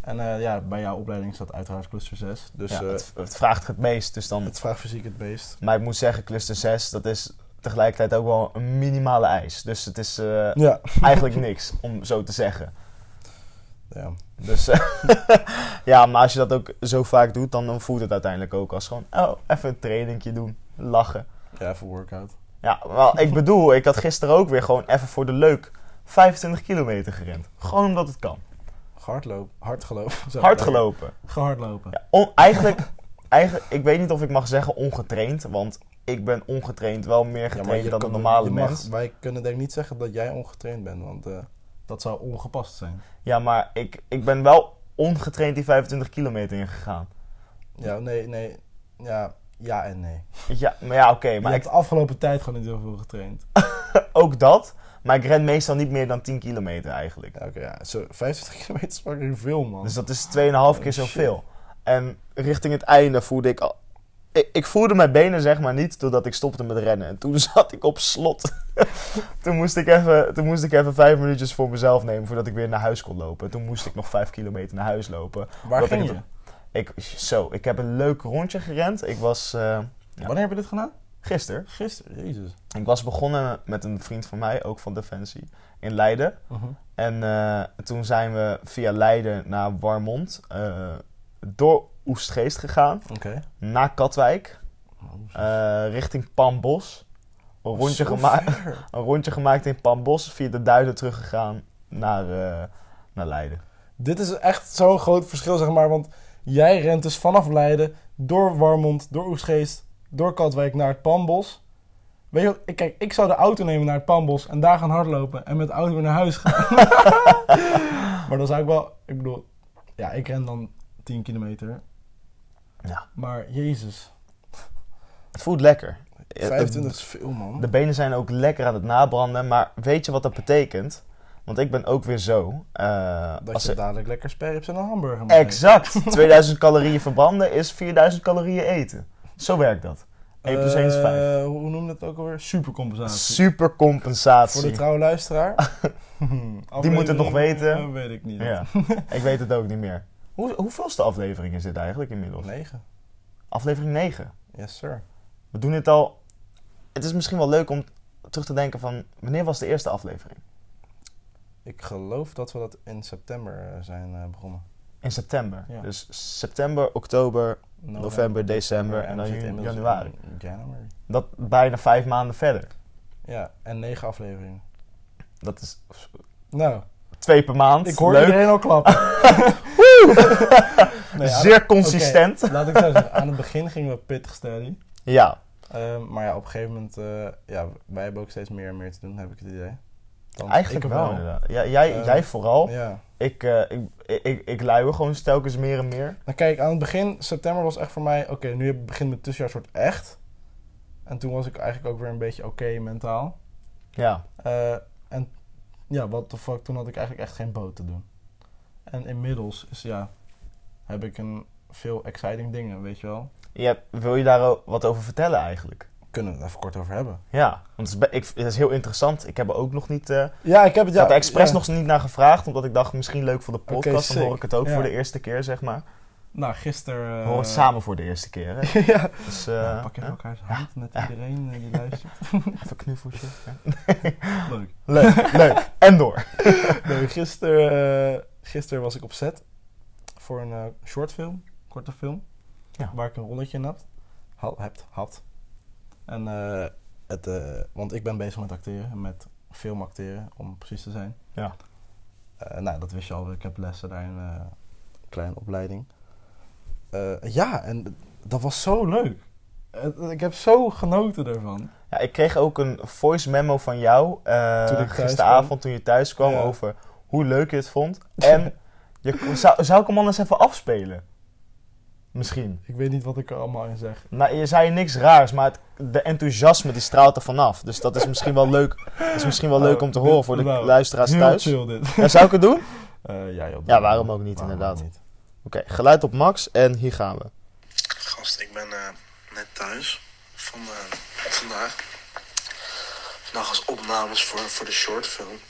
Speaker 1: En eh, ja, bij jouw opleiding staat uiteraard cluster 6. Dus
Speaker 2: ja,
Speaker 1: eh, het,
Speaker 2: het, het vraagt het meest. Dus dan,
Speaker 1: vraagt fysiek het meest.
Speaker 2: maar ik moet zeggen, cluster 6, dat is tegelijkertijd ook wel een minimale eis. Dus het is eh,
Speaker 1: Ja.
Speaker 2: eigenlijk niks, om zo te zeggen.
Speaker 1: ja.
Speaker 2: Dus eh, ja, maar als je dat ook zo vaak doet, dan, dan voelt het uiteindelijk ook als gewoon, oh, even een trainingje doen, lachen.
Speaker 1: Ja, voor workout.
Speaker 2: Ja, wel, ik bedoel, ik had gisteren ook weer gewoon even voor de leuk 25 kilometer gerend. Gewoon omdat het kan.
Speaker 1: Hardloop. Hardgelopen. Zo,
Speaker 2: Hard gelopen.
Speaker 1: Gehardlopen.
Speaker 2: Ja, on- eigenlijk, eigenlijk, ik weet niet of ik mag zeggen ongetraind, want ik ben ongetraind wel meer getraind dan
Speaker 1: kan-
Speaker 2: een normale
Speaker 1: je mag-
Speaker 2: mens.
Speaker 1: Wij kunnen denk ik niet zeggen dat jij ongetraind bent, want eh, dat zou ongepast zijn.
Speaker 2: Ja, maar ik, ik ben wel ongetraind die 25 kilometer ingegaan.
Speaker 1: Ja, nee, nee. Ja, ja en nee.
Speaker 2: Ja, maar ja, oké, maar
Speaker 1: je
Speaker 2: ik,
Speaker 1: hebt de afgelopen tijd gewoon niet heel veel getraind.
Speaker 2: ook dat. Maar ik ren meestal niet meer dan 10 kilometer eigenlijk.
Speaker 1: Ja, Oké, ja. Zo, 25 kilometer is fucking veel, man.
Speaker 2: Dus dat is 2,5
Speaker 1: Oh,
Speaker 2: keer
Speaker 1: shit.
Speaker 2: zoveel. En richting het einde voelde ik al. Ik, ik voelde mijn benen zeg maar niet doordat ik stopte met rennen. En toen zat ik op slot. toen, moest ik even, toen moest ik even vijf minuutjes voor mezelf nemen voordat ik weer naar huis kon lopen. En toen moest ik nog vijf kilometer naar huis lopen.
Speaker 1: Waar
Speaker 2: dat
Speaker 1: ging
Speaker 2: ik
Speaker 1: je?
Speaker 2: het- Ik, zo, ik heb een leuk rondje gerend. Ik was eh ja.
Speaker 1: Wanneer heb je dit gedaan?
Speaker 2: gisteren.
Speaker 1: Gisteren, jezus.
Speaker 2: Ik was begonnen met een vriend van mij, ook van Defensie, in Leiden.
Speaker 1: Mhm.
Speaker 2: En eh, toen zijn we via Leiden naar Warmond, eh, door Oestgeest gegaan,
Speaker 1: Oké.
Speaker 2: naar Katwijk, eh, richting Pambos. Een rondje, gemaakt, een rondje gemaakt in Pambos, via de Duiden teruggegaan naar, eh, naar Leiden.
Speaker 1: Dit is echt zo'n groot verschil, zeg maar. Want jij rent dus vanaf Leiden, door Warmond, door Oestgeest, door Katwijk naar het Pambos. Weet je wat, ik- kijk, ik zou de auto nemen naar het Pambos en daar gaan hardlopen en met de auto weer naar huis gaan. maar dan zou ik wel, ik bedoel, ja, ik ren dan 10 kilometer.
Speaker 2: Ja.
Speaker 1: Maar jezus,
Speaker 2: Het voelt lekker. Eh,
Speaker 1: 25 is veel man.
Speaker 2: De benen zijn ook lekker aan het nabranden, maar weet je wat dat betekent? Want ik ben ook weer zo. eh,
Speaker 1: dat
Speaker 2: als
Speaker 1: je
Speaker 2: er-
Speaker 1: dadelijk lekker sperrips en een hamburger moet
Speaker 2: Exact. 2000 calorieën verbranden is 4000 calorieën eten. Zo werkt dat.
Speaker 1: eten.
Speaker 2: 1 plus 1 is 5.
Speaker 1: Eh, hoe noem je dat ook alweer? Supercompensatie.
Speaker 2: Super
Speaker 1: Voor de
Speaker 2: compensatie.
Speaker 1: trouwe luisteraar.
Speaker 2: Die moet het nog weten.
Speaker 1: Eh, weet ik niet.
Speaker 2: Ja, ik weet het ook niet meer. Hoe, hoeveelste aflevering is dit eigenlijk inmiddels?
Speaker 1: 9.
Speaker 2: Aflevering 9.
Speaker 1: Yes, sir.
Speaker 2: We doen dit al... Het is misschien wel leuk om terug te denken van... Wanneer was de eerste aflevering?
Speaker 1: Ik geloof dat we dat in september eh, zijn eh, begonnen.
Speaker 2: In september.
Speaker 1: Ja.
Speaker 2: Dus september, oktober, november, december en
Speaker 1: we
Speaker 2: dan
Speaker 1: zitten
Speaker 2: juni-
Speaker 1: inmiddels
Speaker 2: januari.
Speaker 1: in January.
Speaker 2: Dat bijna vijf maanden verder.
Speaker 1: Ja, en 9 afleveringen.
Speaker 2: Dat is
Speaker 1: Nou,
Speaker 2: twee per maand.
Speaker 1: ik hoor
Speaker 2: leuk.
Speaker 1: iedereen al klappen. Nee, aan-
Speaker 2: Zeer consistent.
Speaker 1: Oké, laat ik zo zeggen. Aan het begin gingen we pittig steady.
Speaker 2: Ja.
Speaker 1: Ehm, maar ja, op een gegeven moment, eh, ja, wij hebben ook steeds meer en meer te doen, heb ik het idee. Althans,
Speaker 2: Eigenlijk
Speaker 1: ik
Speaker 2: wel, inderdaad. Ja, jij,
Speaker 1: Eh,
Speaker 2: jij vooral.
Speaker 1: Ja.
Speaker 2: Ik, eh ik, ik, ik, ik luier gewoon telkens meer en meer.
Speaker 1: Nou kijk, aan het begin, september was echt voor mij, oké, nu heb- begint mijn tussenjaar soort echt. En toen was ik eigenlijk ook weer een beetje oké mentaal.
Speaker 2: Ja.
Speaker 1: Eh, en ja, what the fuck, toen had ik eigenlijk echt geen boot te doen. En inmiddels is, ja, heb ik een veel exciting dingen, weet je wel.
Speaker 2: Je hebt- wil je daar o- wat over vertellen eigenlijk?
Speaker 1: Kunnen we het even kort over hebben?
Speaker 2: Ja, want het is, be- ik, het is heel interessant. Ik heb er ook nog niet... eh
Speaker 1: Ja, ik heb het,
Speaker 2: ik had er expres nog niet naar gevraagd, omdat ik dacht misschien leuk voor de podcast. dan
Speaker 1: sick.
Speaker 2: hoor ik het ook
Speaker 1: Ja.
Speaker 2: voor de eerste keer, zeg maar.
Speaker 1: Nou, gisteren...
Speaker 2: We
Speaker 1: eh,
Speaker 2: horen het samen voor de eerste keer, hè.
Speaker 1: ja.
Speaker 2: Dus, eh,
Speaker 1: Nou, pak even
Speaker 2: ja,
Speaker 1: elkaars hand met iedereen eh, die luistert.
Speaker 2: even knuffeltje. ja.
Speaker 1: Leuk.
Speaker 2: Leuk, leuk. En door.
Speaker 1: Nee, gisteren, eh, gisteren was ik op set voor een eh, shortfilm, korte film,
Speaker 2: Ja.
Speaker 1: waar ik een rolletje in had. Had. Hebt, had. En, eh, het, eh, want ik ben bezig met acteren, en met filmacteren, om precies te zijn.
Speaker 2: Ja.
Speaker 1: Eh, nou, dat wist je al, ik heb lessen daarin, eh, kleine opleiding. Eh, ja, en dat was zo leuk. Het- ik heb zo genoten daarvan.
Speaker 2: Ja, ik kreeg ook een voice memo van jou eh,
Speaker 1: Toen ik thuis
Speaker 2: gisteravond toen je thuis kwam
Speaker 1: Ja.
Speaker 2: over hoe leuk je het vond. En je, zou, zou ik hem anders even afspelen? Misschien.
Speaker 1: Ik weet niet wat ik er allemaal in zeg.
Speaker 2: Nou, je zei niks raars, maar het, de enthousiasme die straalt er vanaf. Dus dat is misschien wel leuk, dat is misschien wel
Speaker 1: Oh,
Speaker 2: leuk om te
Speaker 1: dit-
Speaker 2: horen voor de
Speaker 1: nou,
Speaker 2: luisteraars
Speaker 1: Heel
Speaker 2: thuis.
Speaker 1: chill dit.
Speaker 2: Ja, zou ik het doen? Oké,
Speaker 1: Eh, ja, joh, doe
Speaker 2: Ja,
Speaker 1: maar.
Speaker 2: waarom ook niet, inderdaad.
Speaker 1: niet?
Speaker 2: geluid op max en hier gaan we.
Speaker 3: Gast, ik ben eh, net thuis van eh, vandaag. Vandaag als opnames voor, voor de shortfilm.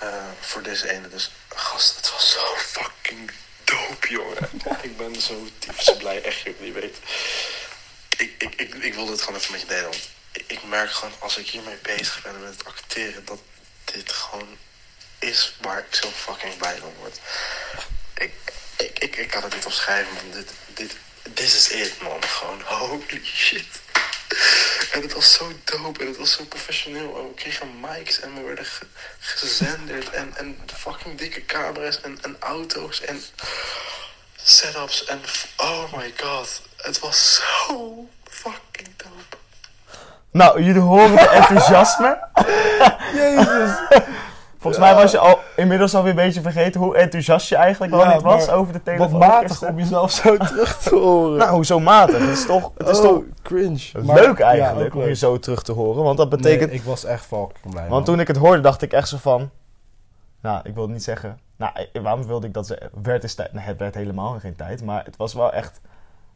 Speaker 3: Eh, voor deze ene. Dus gast, het was zo fucking dope, jongen. ik ben zo typisch blij, echt, joh, je weet. Ik, ik, ik, ik wilde het gewoon even met je delen. Want ik, ik merk gewoon, als ik hiermee bezig ben met het acteren, dat dit gewoon is waar ik zo fucking blij van word. Ik, ik, ik, ik kan het niet omschrijven, man. Dit, dit, this is it, man. Gewoon, holy shit. En het was zo dope en het was zo professioneel. En we kregen mics en we werden ge- gezenderd. En, en fucking dikke camera's en, en auto's en setups. En f- oh my god, het was zo fucking dope.
Speaker 2: Nou, jullie horen het enthousiasme.
Speaker 1: Jezus.
Speaker 2: Volgens mij was je al, inmiddels alweer een beetje vergeten hoe enthousiast je eigenlijk wel
Speaker 1: Ja,
Speaker 2: niet was
Speaker 1: maar
Speaker 2: over de
Speaker 1: Wat
Speaker 2: telefoon.
Speaker 1: matig
Speaker 2: gisteren.
Speaker 1: om jezelf zo terug te horen.
Speaker 2: Nou, hoezo matig? Het is toch, het is
Speaker 1: Oh,
Speaker 2: toch
Speaker 1: cringe.
Speaker 2: leuk eigenlijk
Speaker 1: ja,
Speaker 2: om je zo terug te horen. Want dat betekent...
Speaker 1: ik was echt fucking blij.
Speaker 2: want toen ik het hoorde dacht ik echt zo van... Nou, ik wil het niet zeggen... Nou, eh, waarom wilde ik dat ze... Werd is tijd... Nee, het werd helemaal geen tijd. Maar het was wel echt...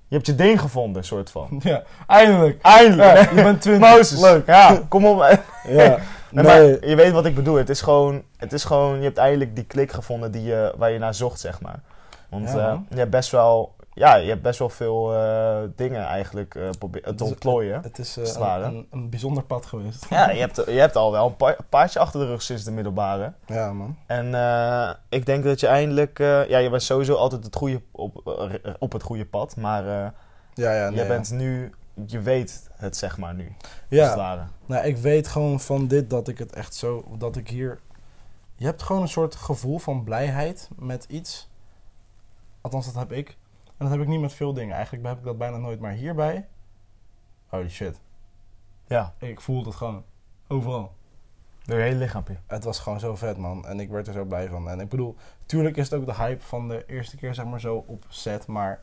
Speaker 2: Je hebt je ding gevonden, soort van.
Speaker 1: Ja, eindelijk.
Speaker 2: Eindelijk!
Speaker 1: Ja, je bent 20.
Speaker 2: Mozes.
Speaker 1: Leuk.
Speaker 2: Ja, kom op. Nee,
Speaker 1: Ja.
Speaker 2: Maar je weet wat ik bedoel. Het is, gewoon, het is gewoon... Je hebt eindelijk die klik gevonden die je, waar je naar zocht, zeg maar. Want
Speaker 1: Ja,
Speaker 2: eh,
Speaker 1: man.
Speaker 2: je hebt best wel... Ja, je hebt best wel veel eh, dingen eigenlijk eh, probeer- te
Speaker 1: is-
Speaker 2: ontplooien.
Speaker 1: Dus, Het is eh,
Speaker 2: Zwaar, hè?
Speaker 1: een, een, een bijzonder pad geweest.
Speaker 2: Ja, je hebt, je hebt al wel een pa- paardje achter de rug sinds de middelbare.
Speaker 1: Ja, man.
Speaker 2: En eh, ik denk dat je eindelijk... eh, ja, je was sowieso altijd het goede, op, eh, op het goede pad. Maar eh,
Speaker 1: Ja, ja, nee,
Speaker 2: je
Speaker 1: ja.
Speaker 2: bent nu... Je weet het, zeg maar, nu. Als het
Speaker 1: Ja,
Speaker 2: ware.
Speaker 1: nou, ik weet gewoon van dit dat ik het echt zo... Dat ik hier... Je hebt gewoon een soort gevoel van blijheid met iets. Althans, dat heb ik. En dat heb ik niet met veel dingen. Eigenlijk heb ik dat bijna nooit, maar hierbij... Holy shit.
Speaker 2: Ja,
Speaker 1: Ik voel dat gewoon. Overal.
Speaker 2: door je hele lichaampje.
Speaker 1: Het was gewoon zo vet, man. En ik werd er zo blij van. En ik bedoel, tuurlijk is het ook de hype van de eerste keer, zeg maar, zo opzet. Maar.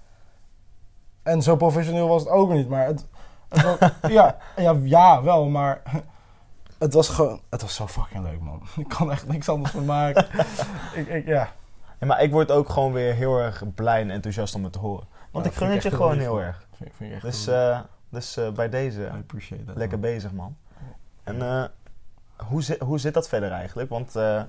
Speaker 1: En zo professioneel was het ook weer niet. Maar het. het was- ja, ja, ja, wel, maar. Het was gewoon. Het was zo fucking leuk, man. Ik kan echt niks anders van maken. ik, ik, ja.
Speaker 2: Ja, maar ik word ook gewoon weer heel erg blij en enthousiast om het te horen. Want
Speaker 1: Nou,
Speaker 2: ik gun
Speaker 1: vind
Speaker 2: het
Speaker 1: ik
Speaker 2: je
Speaker 1: echt
Speaker 2: gewoon
Speaker 1: heel
Speaker 2: heel
Speaker 1: lief.
Speaker 2: erg.
Speaker 1: Vind, ik- vind ik echt.
Speaker 2: Dus,
Speaker 1: heel
Speaker 2: eh, dus eh, bij
Speaker 1: leuk. I
Speaker 2: deze,
Speaker 1: appreciate that.
Speaker 2: lekker
Speaker 1: man.
Speaker 2: bezig man. En eh, hoe, zit, hoe zit dat verder eigenlijk? Want eh,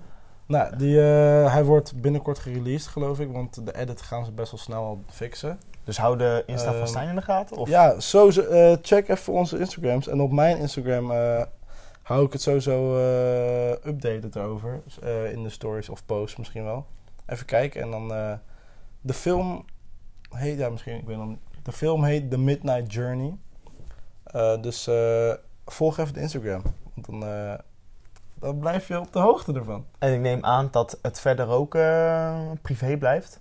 Speaker 1: Nou, die, eh, hij wordt binnenkort gereleased, geloof ik. Want de edit gaan ze best wel snel al fixen.
Speaker 2: dus hou de Insta van
Speaker 1: Ehm,
Speaker 2: Stijn in de gaten? Of?
Speaker 1: Ja, sowieso, eh, check even onze Instagrams. En op mijn Instagram eh, hou ik het sowieso eh updated erover. Dus, eh, in de stories of posts misschien wel. Even kijken. En dan eh, de film heet, ja misschien, ik weet nog niet. De film heet The Midnight Journey. Eh, dus eh, volg even de Instagram. Want dan, eh, dan blijf je op de hoogte ervan.
Speaker 2: En ik neem aan dat het verder ook eh, privé blijft?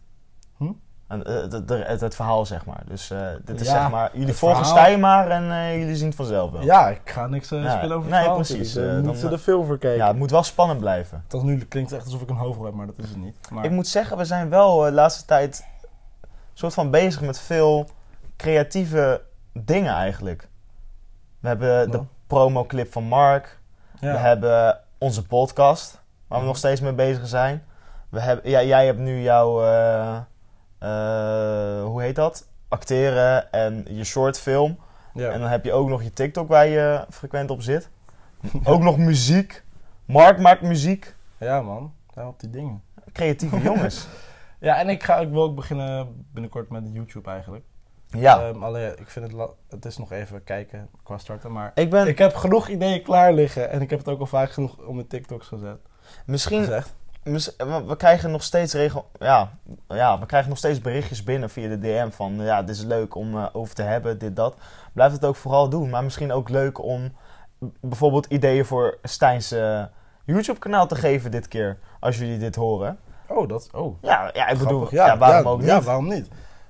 Speaker 1: Hm?
Speaker 2: En, eh, het, het- het, het verhaal, zeg maar. Dus eh, dit is
Speaker 1: Ja,
Speaker 2: zeg maar, jullie
Speaker 1: het
Speaker 2: volgen
Speaker 1: verhaal.
Speaker 2: Stijn maar en eh, jullie zien het vanzelf wel.
Speaker 1: Ja, ik ga niks eh,
Speaker 2: Ja,
Speaker 1: spelen over het dus,
Speaker 2: nee,
Speaker 1: verhaal
Speaker 2: precies,
Speaker 1: natuurlijk. Dan
Speaker 2: eh, dan-
Speaker 1: moeten ze er film voor kijken.
Speaker 2: Ja, het moet wel spannend blijven.
Speaker 1: Tot nu klinkt het echt alsof ik een hoofdrol heb, maar dat is het niet. Maar,
Speaker 2: Ik moet zeggen, we zijn wel eh, de laatste tijd soort van bezig met veel creatieve dingen eigenlijk. We hebben de
Speaker 1: Nou.
Speaker 2: promoclip van Mark.
Speaker 1: ja. Mhm.
Speaker 2: We hebben onze podcast, waar we
Speaker 1: Ja.
Speaker 2: nog steeds mee bezig zijn. We hebben, ja, jij hebt nu jouw, eh, eh, hoe heet dat? Acteren en je short film.
Speaker 1: Ja.
Speaker 2: En dan heb je ook nog je TikTok waar je frequent op zit. Ook nog muziek. Mark maakt muziek.
Speaker 1: ja, man. Ja, op die dingen.
Speaker 2: Creatieve jongens.
Speaker 1: Ja, en ik, ga, ik wil ook beginnen binnenkort met YouTube eigenlijk.
Speaker 2: Ja,
Speaker 1: Ehm, alleen, ik vind het... la- Het is nog even kijken qua starten, maar...
Speaker 2: ik ben
Speaker 1: Ik heb genoeg ideeën klaar liggen. En ik heb het ook al vaak genoeg om mijn TikToks gezet.
Speaker 2: misschien
Speaker 1: Gezegd.
Speaker 2: Mis- we, we krijgen nog steeds regel, ja, ja, we krijgen nog steeds berichtjes binnen via de DM van ja, dit is leuk om eh, over te hebben, dit dat. Blijf het ook vooral doen, maar misschien ook leuk om b- bijvoorbeeld ideeën voor Stijn's eh, YouTube-kanaal te geven dit keer, als jullie dit horen.
Speaker 1: Oh, dat... Oh,
Speaker 2: Ja, ja ik bedoel,
Speaker 1: grappig.
Speaker 2: ja, waarom
Speaker 1: ja,
Speaker 2: ook niet?
Speaker 1: Ja, waarom niet?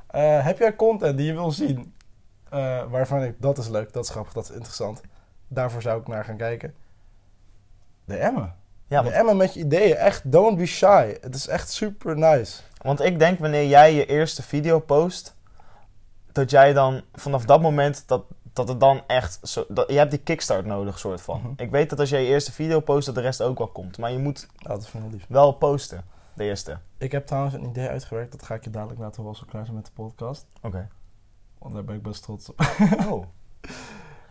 Speaker 1: Eh, heb jij content die je wil zien? eh, waarvan ik... Dat is leuk, dat is grappig, dat is interessant. Daarvoor zou ik naar gaan kijken. De Emmen.
Speaker 2: Ja,
Speaker 1: de
Speaker 2: want,
Speaker 1: Emmen met je ideeën. Echt, don't be shy. Het is echt super nice.
Speaker 2: want ik denk wanneer jij je eerste video post, dat jij dan vanaf dat moment dat dat het dan echt zo, dat, je hebt die kickstart nodig soort van.
Speaker 1: Mhm.
Speaker 2: Ik weet dat als jij je eerste video post, dat de rest ook wel komt, maar je moet
Speaker 1: Nou, dat vind ik wel lief.
Speaker 2: wel posten. De eerste.
Speaker 1: Ik heb trouwens een idee uitgewerkt. Dat ga ik je dadelijk laten horen als we klaar zijn met de podcast.
Speaker 2: Oké.
Speaker 1: Want daar ben ik best trots op.
Speaker 2: Oh.
Speaker 1: Ja,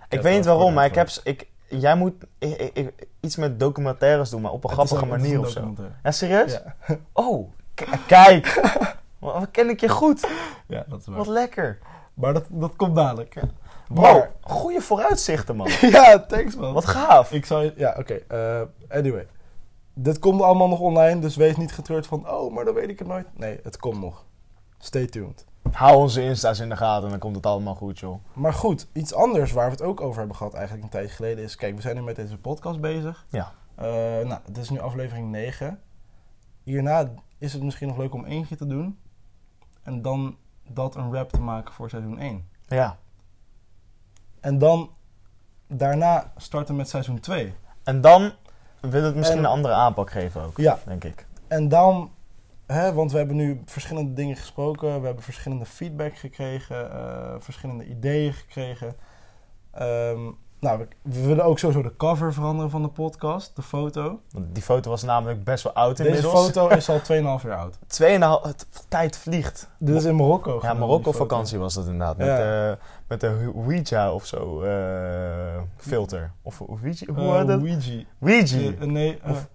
Speaker 2: ik weet
Speaker 1: dat
Speaker 2: niet waarom,
Speaker 1: wordt
Speaker 2: maar ik heb...
Speaker 1: uitgewerkt.
Speaker 2: s- Ik, jij moet ik, ik- ik- iets met documentaires doen, maar op een
Speaker 1: Het is
Speaker 2: grappige
Speaker 1: een- het is
Speaker 2: manier
Speaker 1: een
Speaker 2: of zo.
Speaker 1: documentaire.
Speaker 2: Ja, serieus?
Speaker 1: Ja.
Speaker 2: Oh, k- kijk. wat, wat ken ik je goed.
Speaker 1: ja, dat is waar.
Speaker 2: Wat lekker.
Speaker 1: Maar dat, dat komt dadelijk.
Speaker 2: Bro, goede vooruitzichten, man.
Speaker 1: ja, thanks man.
Speaker 2: Wat gaaf.
Speaker 1: Ik zou... Ja, oké. eh, anyway. Dit komt allemaal nog online, dus wees niet getreurd van... Oh, maar dan weet ik het nooit. Nee, het komt nog. Stay tuned.
Speaker 2: Hou onze Insta's in de gaten en dan komt het allemaal goed, joh.
Speaker 1: Maar goed, iets anders waar we het ook over hebben gehad eigenlijk een tijdje geleden is... Kijk, we zijn nu met deze podcast bezig.
Speaker 2: Ja.
Speaker 1: Eh, nou, dit is nu aflevering 9. Hierna is het misschien nog leuk om eentje te doen. En dan dat een rap te maken voor seizoen 1.
Speaker 2: Ja.
Speaker 1: En dan daarna starten met seizoen 2.
Speaker 2: En dan wil het misschien
Speaker 1: En-
Speaker 2: een andere aanpak geven ook,
Speaker 1: Ja,
Speaker 2: denk ik.
Speaker 1: En daarom, hè, want we hebben nu verschillende dingen gesproken, we hebben verschillende feedback gekregen, eh, verschillende ideeën gekregen. Ehm, nou, we, we willen ook sowieso de cover veranderen van de podcast, de foto.
Speaker 2: Want die foto was namelijk best wel oud
Speaker 1: Deze
Speaker 2: inmiddels.
Speaker 1: foto is al 2,5 jaar oud.
Speaker 2: Tweeënhalf... het- Tijd vliegt.
Speaker 1: Dit is in Marokko.
Speaker 2: Ja,
Speaker 1: genomen,
Speaker 2: Marokko
Speaker 1: die foto.
Speaker 2: vakantie was dat inderdaad. Met,
Speaker 1: Ja.
Speaker 2: eh met de Ouija of zo eh, filter. Of Ouija? Hoe
Speaker 1: Eh,
Speaker 2: heet dat?
Speaker 1: Ouija.
Speaker 2: Uh, Ouija.
Speaker 1: Eh, nee, eh,
Speaker 2: Of-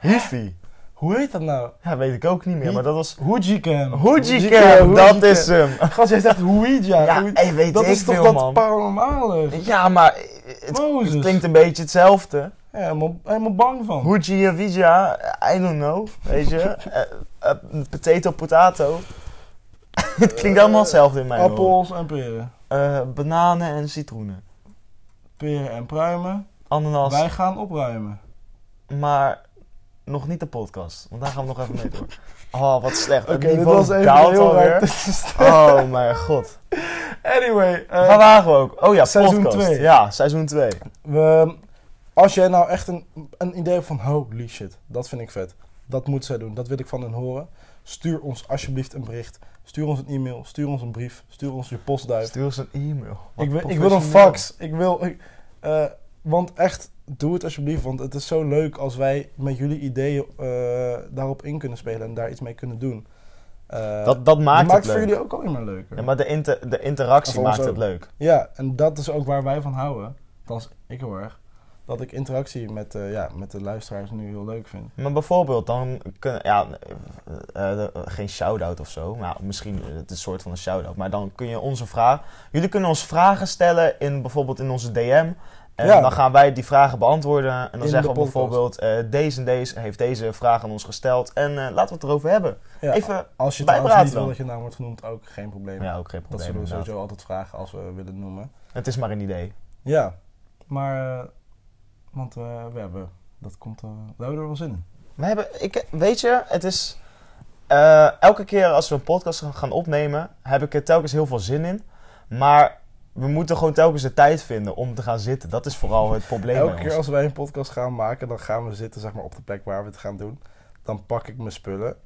Speaker 2: Hifi.
Speaker 1: hoe heet dat nou?
Speaker 2: Ja, weet ik ook niet meer,
Speaker 1: Wie-
Speaker 2: maar dat was...
Speaker 1: Hoojicam.
Speaker 2: Ouija, dat is hem.
Speaker 1: Gast, jij zegt Ouija.
Speaker 2: Ja,
Speaker 1: Ouija.
Speaker 2: hey, weet
Speaker 1: dat
Speaker 2: ik
Speaker 1: is toch
Speaker 2: veel,
Speaker 1: dat
Speaker 2: man.
Speaker 1: paranormale?
Speaker 2: Ja, maar eh, het,
Speaker 1: Mozes.
Speaker 2: het klinkt een beetje hetzelfde.
Speaker 1: Ja, helemaal, helemaal bang van.
Speaker 2: Ouija, Ouija, I don't know, weet je. Eh, eh, potato, potato. het klinkt allemaal hetzelfde in mijn ogen.
Speaker 1: Appels en peren.
Speaker 2: Eh, bananen en citroenen.
Speaker 1: Peren en pruimen.
Speaker 2: Ananas.
Speaker 1: Wij gaan opruimen.
Speaker 2: Maar nog niet de podcast, want daar gaan we nog even mee door. Oh, wat slecht. Het
Speaker 1: dit
Speaker 2: niveau
Speaker 1: was even
Speaker 2: daalt
Speaker 1: heel
Speaker 2: alweer.
Speaker 1: raar
Speaker 2: Oh mijn god.
Speaker 1: Anyway, eh,
Speaker 2: Waar waren we ook? Oh ja,
Speaker 1: seizoen
Speaker 2: podcast.
Speaker 1: twee.
Speaker 2: Ja, seizoen 2.
Speaker 1: we, als jij nou echt een, een idee hebt van holy shit, dat vind ik vet. Dat moet zij doen, dat wil ik van hen horen. Stuur ons alsjeblieft een bericht. Stuur ons een e-mail, stuur ons een brief, stuur ons je postduif.
Speaker 2: Stuur ons een e-mail. Wat
Speaker 1: Ik wil, ik wil een
Speaker 2: professioneel.
Speaker 1: fax. Ik wil, ik- eh, want echt, doe het alsjeblieft. Want het is zo leuk als wij met jullie ideeën eh, daarop in kunnen spelen en daar iets mee kunnen doen. Eh,
Speaker 2: Dat, dat maakt,
Speaker 1: maakt
Speaker 2: het leuk.
Speaker 1: voor jullie ook alleen maar leuker.
Speaker 2: Ja, maar de, inter- de
Speaker 1: En
Speaker 2: interactie
Speaker 1: voor ons
Speaker 2: maakt het
Speaker 1: ook.
Speaker 2: leuk.
Speaker 1: Ja, en dat is ook waar wij van houden. Dat is ik heel erg. Dat ik interactie met, eh, ja, met de luisteraars nu heel leuk vind.
Speaker 2: Maar bijvoorbeeld, dan kunnen... Ja, eh, eh, eh, geen shout-out of zo. Nou, misschien eh, het is een soort van een shout-out. Maar dan kun je onze vraag... Jullie kunnen ons vragen stellen in bijvoorbeeld in onze DM. En
Speaker 1: Ja.
Speaker 2: dan gaan wij die vragen beantwoorden. En dan
Speaker 1: In
Speaker 2: zeggen we
Speaker 1: de podcast.
Speaker 2: bijvoorbeeld... eh, deze en deze heeft deze vraag aan ons gesteld. En eh, laten we het erover hebben.
Speaker 1: Ja,
Speaker 2: Even...
Speaker 1: als je
Speaker 2: wij
Speaker 1: trouwens niet
Speaker 2: praten
Speaker 1: wil
Speaker 2: dan.
Speaker 1: dat je naam wordt genoemd, ook geen probleem.
Speaker 2: Ja, ook geen
Speaker 1: dat
Speaker 2: probleem.
Speaker 1: zullen we
Speaker 2: inderdaad.
Speaker 1: sowieso altijd vragen als we willen noemen.
Speaker 2: Het is maar een idee.
Speaker 1: Ja, maar... eh, want eh, we hebben... Dat komt... eh we hebben er wel zin in.
Speaker 2: We hebben... Ik, weet je, het is... eh, elke keer als we een podcast gaan- gaan opnemen, heb ik er telkens heel veel zin in. Maar we moeten gewoon telkens de tijd vinden om te gaan zitten. Dat is vooral het probleem.
Speaker 1: Elke
Speaker 2: bij
Speaker 1: keer
Speaker 2: ons.
Speaker 1: als wij een podcast gaan maken, dan gaan we zitten zeg maar, op de plek waar we het gaan doen. Dan pak ik mijn spullen.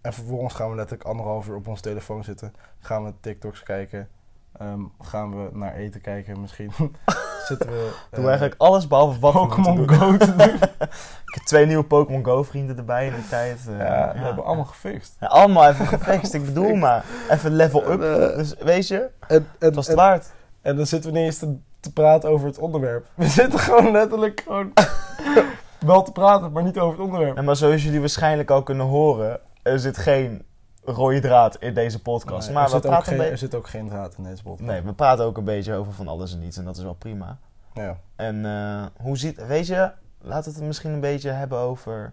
Speaker 1: En vervolgens gaan we letterlijk anderhalf uur op ons telefoon zitten. Gaan we TikToks kijken. Ehm, gaan we naar eten kijken misschien. zitten we...
Speaker 2: Doen
Speaker 1: eh,
Speaker 2: we eigenlijk alles behalve wat we moeten
Speaker 1: Pokémon
Speaker 2: doen.
Speaker 1: Go te doen.
Speaker 2: Ik heb twee nieuwe Pokémon Go vrienden erbij in de tijd. eh,
Speaker 1: Ja, dat hebben we allemaal gefixt.
Speaker 2: Ja, allemaal even gefixt. Ik bedoel maar, even level up.
Speaker 1: En, eh,
Speaker 2: Dus weet je,
Speaker 1: En, en,
Speaker 2: het was het
Speaker 1: en,
Speaker 2: waard.
Speaker 1: en dan zitten we niet eens te, te praten over het onderwerp. We zitten gewoon letterlijk gewoon... wel te praten, maar niet over het onderwerp.
Speaker 2: En maar zoals jullie waarschijnlijk al kunnen horen, er zit geen rode draad in deze podcast.
Speaker 1: Nee,
Speaker 2: maar
Speaker 1: er,
Speaker 2: we
Speaker 1: zit ook
Speaker 2: praten
Speaker 1: geen,
Speaker 2: een
Speaker 1: er
Speaker 2: beetje...
Speaker 1: zit ook geen draad in deze podcast.
Speaker 2: Nee, we praten ook een beetje over van alles en niets en dat is wel prima.
Speaker 1: Ja.
Speaker 2: En eh, hoe ziet... Weet je, laten we het misschien een beetje hebben over...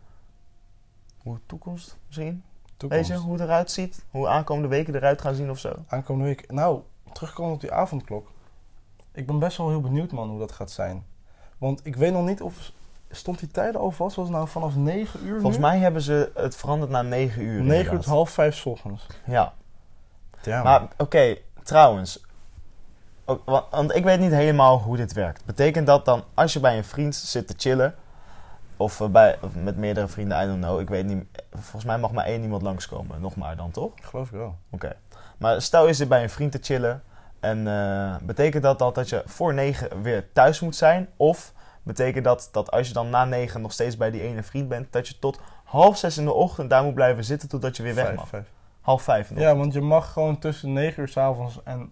Speaker 2: Hoe de toekomst misschien?
Speaker 1: Toekomst.
Speaker 2: Weet je, hoe het eruit ziet? Hoe aankomende weken eruit gaan zien of zo?
Speaker 1: Aankomende week. Nou, terugkomen op die avondklok. Ik ben best wel heel benieuwd, man, hoe dat gaat zijn. Want ik weet nog niet of. Stond die tijden al vast? Was het nou vanaf 9 uur?
Speaker 2: Volgens mij hebben ze het veranderd naar 9 uur.
Speaker 1: 9 uur
Speaker 2: inderdaad.
Speaker 1: tot half 5 's ochtends.
Speaker 2: Ja.
Speaker 1: Ja,
Speaker 2: Maar oké, trouwens. Ook- wa- want ik weet niet helemaal hoe dit werkt. Betekent dat dan als je bij een vriend zit te chillen. Of, eh, bij, of met meerdere vrienden, I don't know. Ik weet niet. Volgens mij mag maar één iemand langskomen. Nog maar dan toch?
Speaker 1: geloof ik wel.
Speaker 2: Oké. Maar stel je zit bij een vriend te chillen. En eh, betekent dat dan dat je voor negen weer thuis moet zijn? Of betekent dat dat als je dan na negen nog steeds bij die ene vriend bent. Dat je tot half zes in de ochtend daar moet blijven zitten totdat je weer weg
Speaker 1: Vijf,
Speaker 2: mag?
Speaker 1: vijf.
Speaker 2: Half vijf in de
Speaker 1: Ja, want je mag gewoon tussen 9 uur 's avonds en,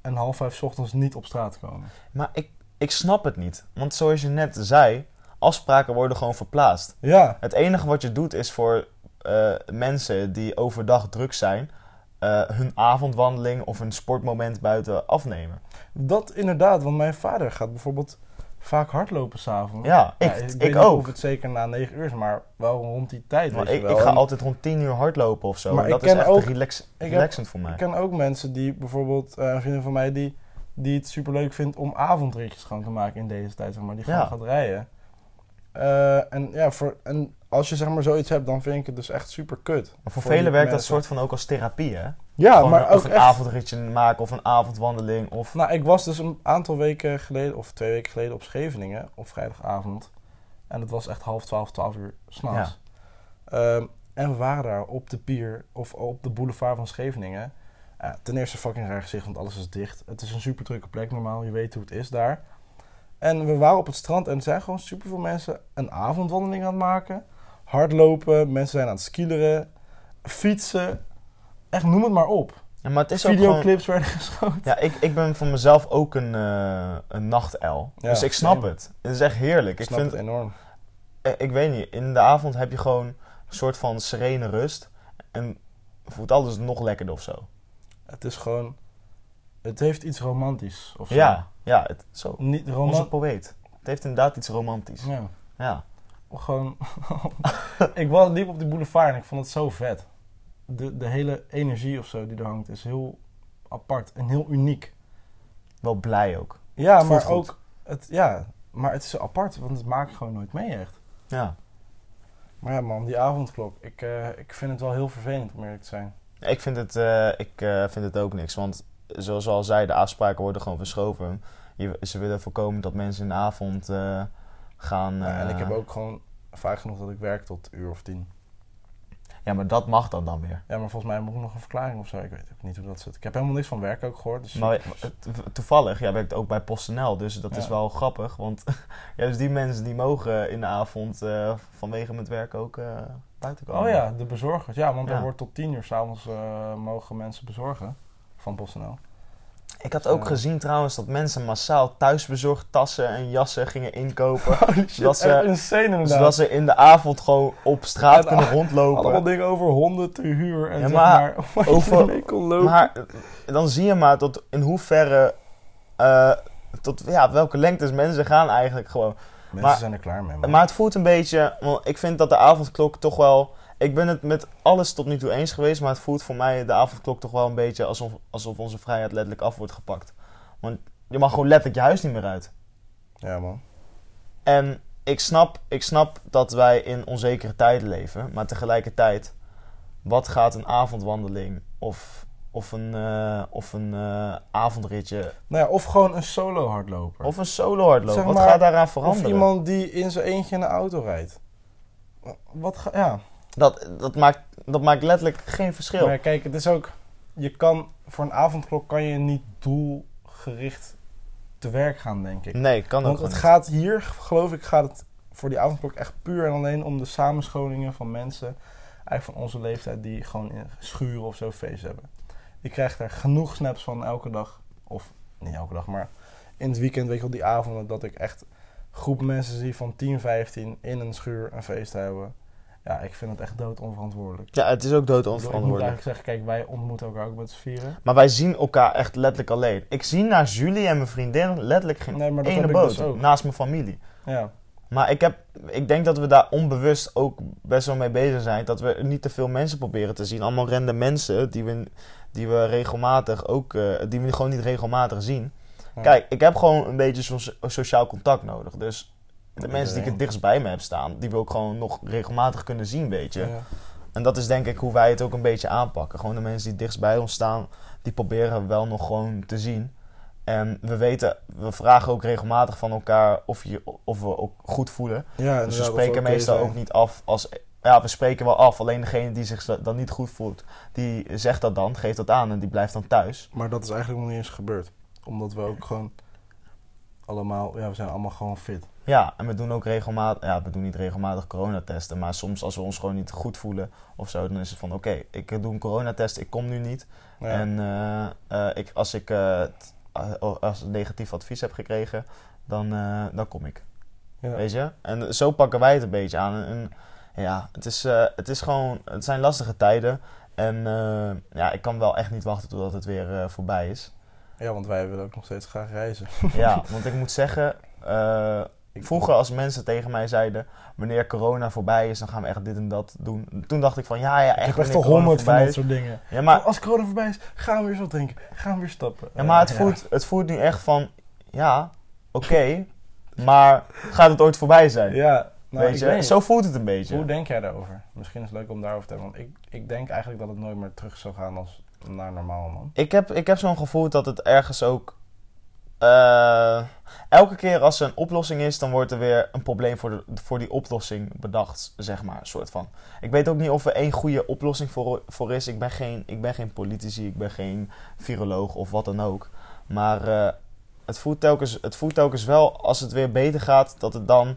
Speaker 1: en half 5 's ochtends niet op straat komen.
Speaker 2: Maar ik, ik snap het niet. Want zoals je net zei, afspraken worden gewoon verplaatst.
Speaker 1: Ja,
Speaker 2: Het enige wat je doet is voor eh, mensen die overdag druk zijn, eh, hun avondwandeling of een sportmoment buiten afnemen.
Speaker 1: dat inderdaad. Want mijn vader gaat bijvoorbeeld vaak hardlopen s'avonds.
Speaker 2: Ja, ik,
Speaker 1: Oh. weet
Speaker 2: ik,
Speaker 1: niet
Speaker 2: ook.
Speaker 1: Of het zeker na 9 uur is, maar wel rond die tijd.
Speaker 2: Maar
Speaker 1: weet je
Speaker 2: ik,
Speaker 1: wel.
Speaker 2: ik ga
Speaker 1: En-
Speaker 2: altijd rond 10 uur hardlopen of zo.
Speaker 1: Maar
Speaker 2: en
Speaker 1: ik
Speaker 2: dat is
Speaker 1: ken
Speaker 2: echt
Speaker 1: ook-
Speaker 2: relax-
Speaker 1: heb-
Speaker 2: relaxend voor mij.
Speaker 1: Ik ken ook mensen die bijvoorbeeld, eh, een vriendin van mij, die, die het superleuk vindt om avondritjes gewoon te maken in deze tijd, zeg maar. Die gewoon
Speaker 2: Ja.
Speaker 1: gaat rijden. Eh, en ja, voor, en als je zeg maar zoiets hebt, dan vind ik het dus echt super kut.
Speaker 2: Maar voor
Speaker 1: voor
Speaker 2: velen
Speaker 1: die
Speaker 2: werkt dat
Speaker 1: mensen.
Speaker 2: soort van ook als therapie, hè?
Speaker 1: Ja,
Speaker 2: Gewoon
Speaker 1: maar
Speaker 2: een- of
Speaker 1: ook
Speaker 2: een
Speaker 1: echt.
Speaker 2: avondritje maken of een avondwandeling. Of...
Speaker 1: Nou, ik was dus een aantal weken geleden, of twee weken geleden, op Scheveningen op vrijdagavond. En het was echt half twaalf, twaalf uur s'nachts. Ehm en we waren daar op de pier, of op de boulevard van Scheveningen. Eh, ten eerste fucking raar gezicht, want alles is dicht. Het is een super drukke plek normaal, je weet hoe het is daar. En we waren op het strand en er zijn gewoon super veel mensen een avondwandeling aan het maken. Hardlopen, mensen zijn aan het skileren, fietsen. Echt, noem het maar op.
Speaker 2: Ja, maar het is ook gewoon...
Speaker 1: Videoclips werden geschoten.
Speaker 2: Ja, ik, ik ben van mezelf ook een, eh een nachtuil.
Speaker 1: Ja,
Speaker 2: dus ik snap
Speaker 1: same.
Speaker 2: het. Het is echt heerlijk. Ik,
Speaker 1: snap
Speaker 2: vind,
Speaker 1: het enorm.
Speaker 2: eh, ik weet niet, in de avond heb je gewoon een soort van serene rust. En voelt alles nog lekkerder of zo.
Speaker 1: Het is gewoon. Het heeft iets romantisch of zo.
Speaker 2: Ja, ja het, zo.
Speaker 1: Niet
Speaker 2: Onze
Speaker 1: romantisch.
Speaker 2: poëet. Het heeft inderdaad iets romantisch.
Speaker 1: Ja.
Speaker 2: Ja.
Speaker 1: Gewoon. ik was liep op die boulevard en ik vond het zo vet. De, de hele energie of zo die er hangt is heel apart en heel uniek.
Speaker 2: Wel blij ook.
Speaker 1: Ja,
Speaker 2: Het voelt
Speaker 1: maar
Speaker 2: goed.
Speaker 1: ook. Het, ja, maar het is apart, want het maakt gewoon nooit mee echt.
Speaker 2: Ja.
Speaker 1: Maar ja, man, die avondklok. Ik, eh, ik vind het wel heel vervelend om eerlijk te zijn.
Speaker 2: Ik vind het, eh, ik, eh, vind het ook niks. Want zoals we al zei, de afspraken worden gewoon verschoven. Je, ze willen voorkomen dat mensen in de avond eh, gaan...
Speaker 1: Ja, en ik
Speaker 2: eh,
Speaker 1: heb ook gewoon vaak genoeg dat ik werk tot een uur of tien.
Speaker 2: Ja, maar dat mag dan dan weer.
Speaker 1: Ja, maar volgens mij moet ik nog een verklaring of zo. Ik weet ook niet hoe dat zit. Ik heb helemaal niks van werk ook gehoord. Dus
Speaker 2: Maar to- toevallig, jij werkt ook bij PostNL, dus dat is
Speaker 1: Ja.
Speaker 2: wel grappig. Want juist die mensen die mogen in de avond eh, vanwege het werk ook eh, buiten komen.
Speaker 1: Oh ja, de bezorgers. Ja, want
Speaker 2: Ja.
Speaker 1: er wordt tot tien uur s'avonds eh mogen mensen bezorgen van PostNL.
Speaker 2: Ik had ook
Speaker 1: Ja.
Speaker 2: gezien trouwens dat mensen massaal thuisbezorgd tassen en jassen gingen inkopen. zodat,
Speaker 1: echt
Speaker 2: ze,
Speaker 1: insane inderdaad.
Speaker 2: zodat ze in de avond gewoon op straat
Speaker 1: En
Speaker 2: kunnen
Speaker 1: al-
Speaker 2: rondlopen.
Speaker 1: Allemaal dingen over honden te huur en
Speaker 2: eh, Ja,
Speaker 1: zeg
Speaker 2: maar
Speaker 1: maar...
Speaker 2: over-
Speaker 1: over... mee kon lopen.
Speaker 2: Maar eh, dan zie je maar tot in hoeverre, eh, tot ja, welke lengtes mensen gaan eigenlijk gewoon.
Speaker 1: Mensen
Speaker 2: maar-
Speaker 1: zijn er klaar mee. man.
Speaker 2: Maar het voelt een beetje, want ik vind dat de avondklok toch wel. Ik ben het met alles tot nu toe eens geweest, maar het voelt voor mij de avondklok toch wel een beetje alsof, alsof onze vrijheid letterlijk af wordt gepakt. Want je mag gewoon letterlijk je huis niet meer uit.
Speaker 1: Ja man.
Speaker 2: En ik snap, ik snap dat wij in onzekere tijden leven, maar tegelijkertijd Wat gaat een avondwandeling of, of een, eh, of een eh, avondritje
Speaker 1: Nou ja, of gewoon een solo hardloper.
Speaker 2: of een solo hardlopen?
Speaker 1: Zeg
Speaker 2: Wat
Speaker 1: maar,
Speaker 2: gaat daaraan
Speaker 1: Of
Speaker 2: veranderen?
Speaker 1: iemand die in zijn eentje in de auto rijdt. Wat ga, ja.
Speaker 2: Dat, dat, maakt, dat maakt letterlijk geen verschil.
Speaker 1: Maar ja, kijk, het is ook... Je kan, voor een avondklok kan je niet doelgericht te werk gaan, denk ik.
Speaker 2: Nee, kan ook
Speaker 1: Want het
Speaker 2: gewoon niet.
Speaker 1: gaat hier, geloof ik, gaat het voor die avondklok echt puur en alleen om de samenscholingen van mensen. Eigenlijk van onze leeftijd die gewoon in schuren of zo feest hebben. Je krijgt er genoeg snaps van elke dag. Of niet elke dag, maar in het weekend, weet je wel, die avonden. Dat ik echt groep mensen zie van 10, 15 in een schuur een feest houden. Ja, ik vind het echt dood onverantwoordelijk.
Speaker 2: Ja, het is ook dood
Speaker 1: Ik bedoel, Ik moet
Speaker 2: onverantwoordelijk.
Speaker 1: eigenlijk zeggen, kijk, wij ontmoeten elkaar ook met z'n vieren.
Speaker 2: Maar wij zien elkaar echt letterlijk alleen. Ik zie naast Julie en mijn vriendin letterlijk geen
Speaker 1: Nee, maar dat
Speaker 2: ene
Speaker 1: heb ik
Speaker 2: Hm. boot.
Speaker 1: dus ook.
Speaker 2: naast mijn familie.
Speaker 1: Ja,
Speaker 2: Maar ik, heb, ik denk dat we daar onbewust ook best wel mee bezig zijn. Dat we niet te veel mensen proberen te zien. Allemaal random mensen die we, die we regelmatig ook... eh, die we gewoon niet regelmatig zien.
Speaker 1: Ja.
Speaker 2: Kijk, ik heb gewoon een beetje zo'n so- sociaal contact nodig. Dus de
Speaker 1: Met
Speaker 2: mensen die
Speaker 1: iedereen.
Speaker 2: ik het dichtst bij me heb staan... die wil ik gewoon nog regelmatig kunnen zien, weet je.
Speaker 1: ja.
Speaker 2: En dat is denk ik hoe wij het ook een beetje aanpakken. Gewoon de mensen die dichtst bij ons staan, die proberen we wel nog gewoon te zien. En we weten, we vragen ook regelmatig van elkaar of, je, of we ook goed voelen.
Speaker 1: ja
Speaker 2: Dus we spreken meestal ook niet af als. Ja, we spreken wel af. Alleen degene die zich dan niet goed voelt, die zegt dat dan, geeft dat aan en die blijft dan thuis.
Speaker 1: Maar dat is eigenlijk nog niet eens gebeurd. Omdat we ook gewoon allemaal, ja, we zijn allemaal gewoon fit.
Speaker 2: Ja, en we doen ook regelmatig, ja, we doen niet regelmatig coronatesten, maar soms als we ons gewoon niet goed voelen of zo, dan is het van oké, ik doe een coronatest, ik kom nu niet.
Speaker 1: Ja.
Speaker 2: En eh, eh, ik, als ik eh, t- eh, als een negatief advies heb gekregen, dan, eh, dan kom ik.
Speaker 1: Ja.
Speaker 2: Weet je? En zo pakken wij het een beetje aan. En, en ja, het, is, eh, het, is gewoon, het zijn lastige tijden. En eh, ja, ik kan wel echt niet wachten totdat het weer eh, voorbij is.
Speaker 1: ja, want wij willen ook nog steeds graag reizen.
Speaker 2: ja, want ik moet zeggen, eh, vroeger als mensen tegen mij zeiden... wanneer corona voorbij is, dan gaan we echt dit en dat doen. Toen dacht ik van, ja, ja,
Speaker 1: Ik heb
Speaker 2: echt
Speaker 1: echt
Speaker 2: wanneer
Speaker 1: al
Speaker 2: corona
Speaker 1: honderd van
Speaker 2: voorbij
Speaker 1: dat
Speaker 2: is.
Speaker 1: soort dingen.
Speaker 2: Ja, maar
Speaker 1: Als corona voorbij is, gaan we weer zo drinken. Gaan we weer stappen.
Speaker 2: Ja, maar het
Speaker 1: Eh,
Speaker 2: voelt, het voelt nu echt van, ja, oké, maar gaat het ooit voorbij zijn?
Speaker 1: Ja, nou,
Speaker 2: weet
Speaker 1: ik
Speaker 2: je,
Speaker 1: weet niet.
Speaker 2: zo voelt het een beetje.
Speaker 1: Hoe denk jij daarover? Misschien is het leuk om daarover te hebben. Want ik, ik denk eigenlijk dat het nooit meer terug zou gaan als naar normaal, man.
Speaker 2: Ik heb, ik heb zo'n gevoel dat het ergens ook, eh, elke keer als er een oplossing is, dan wordt er weer een probleem voor, de, voor die oplossing bedacht, zeg maar, soort van. Ik weet ook niet of er één goede oplossing voor, voor is. Ik ben, geen, ik ben geen politici, ik ben geen viroloog of wat dan ook. Maar eh, het, voelt telkens, het voelt telkens wel, als het weer beter gaat, dat het dan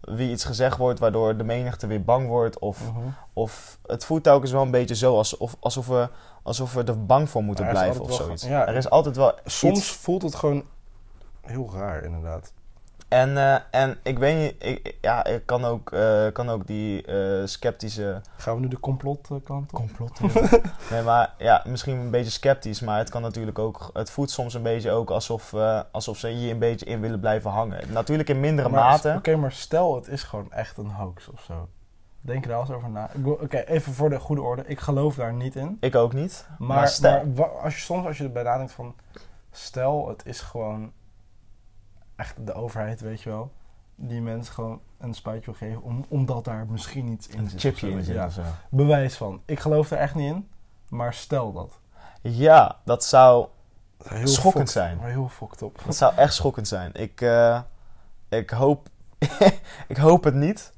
Speaker 2: weer iets gezegd wordt... waardoor de menigte weer bang wordt. Of,
Speaker 1: Mhm.
Speaker 2: of het voelt telkens wel een beetje zo, alsof, alsof, we, alsof we er bang voor moeten
Speaker 1: Maar er is
Speaker 2: blijven of
Speaker 1: altijd wel
Speaker 2: zoiets.
Speaker 1: ge- ja.
Speaker 2: er is altijd wel
Speaker 1: Soms
Speaker 2: iets.
Speaker 1: voelt het gewoon heel raar, inderdaad.
Speaker 2: En, eh, en ik weet niet, ik, ik- ja, ik kan ook, eh, kan ook die eh, sceptische...
Speaker 1: Gaan we nu de complotkant op?
Speaker 2: Complottheorie. nee, maar ja, misschien een beetje sceptisch, maar het kan natuurlijk ook. Het voelt soms een beetje ook alsof, eh, alsof ze hier een beetje in willen blijven hangen. Natuurlijk in mindere
Speaker 1: Maar-
Speaker 2: mate.
Speaker 1: Oké, maar stel het is gewoon echt een hoax of zo. Denk er wel eens over na. Ik bedoel, Oké, even voor de goede orde. Ik geloof daar niet in.
Speaker 2: Ik ook niet.
Speaker 1: Maar,
Speaker 2: Maar stel-
Speaker 1: maar wa- als je, soms als je erbij nadenkt van... Stel, het is gewoon echt de overheid, weet je wel. Die mensen gewoon een spuitje wil geven om, omdat daar misschien iets in zit. of zo, weet je. Ja,
Speaker 2: zo.
Speaker 1: bewijs van. Ik geloof er echt niet in. Maar stel dat.
Speaker 2: Ja, dat zou,
Speaker 1: Dat zou heel
Speaker 2: Schokkend
Speaker 1: fokt-
Speaker 2: zijn.
Speaker 1: Maar heel fokt op.
Speaker 2: dat zou echt schokkend zijn. Ik, eh, ik, hoop, ik hoop het niet.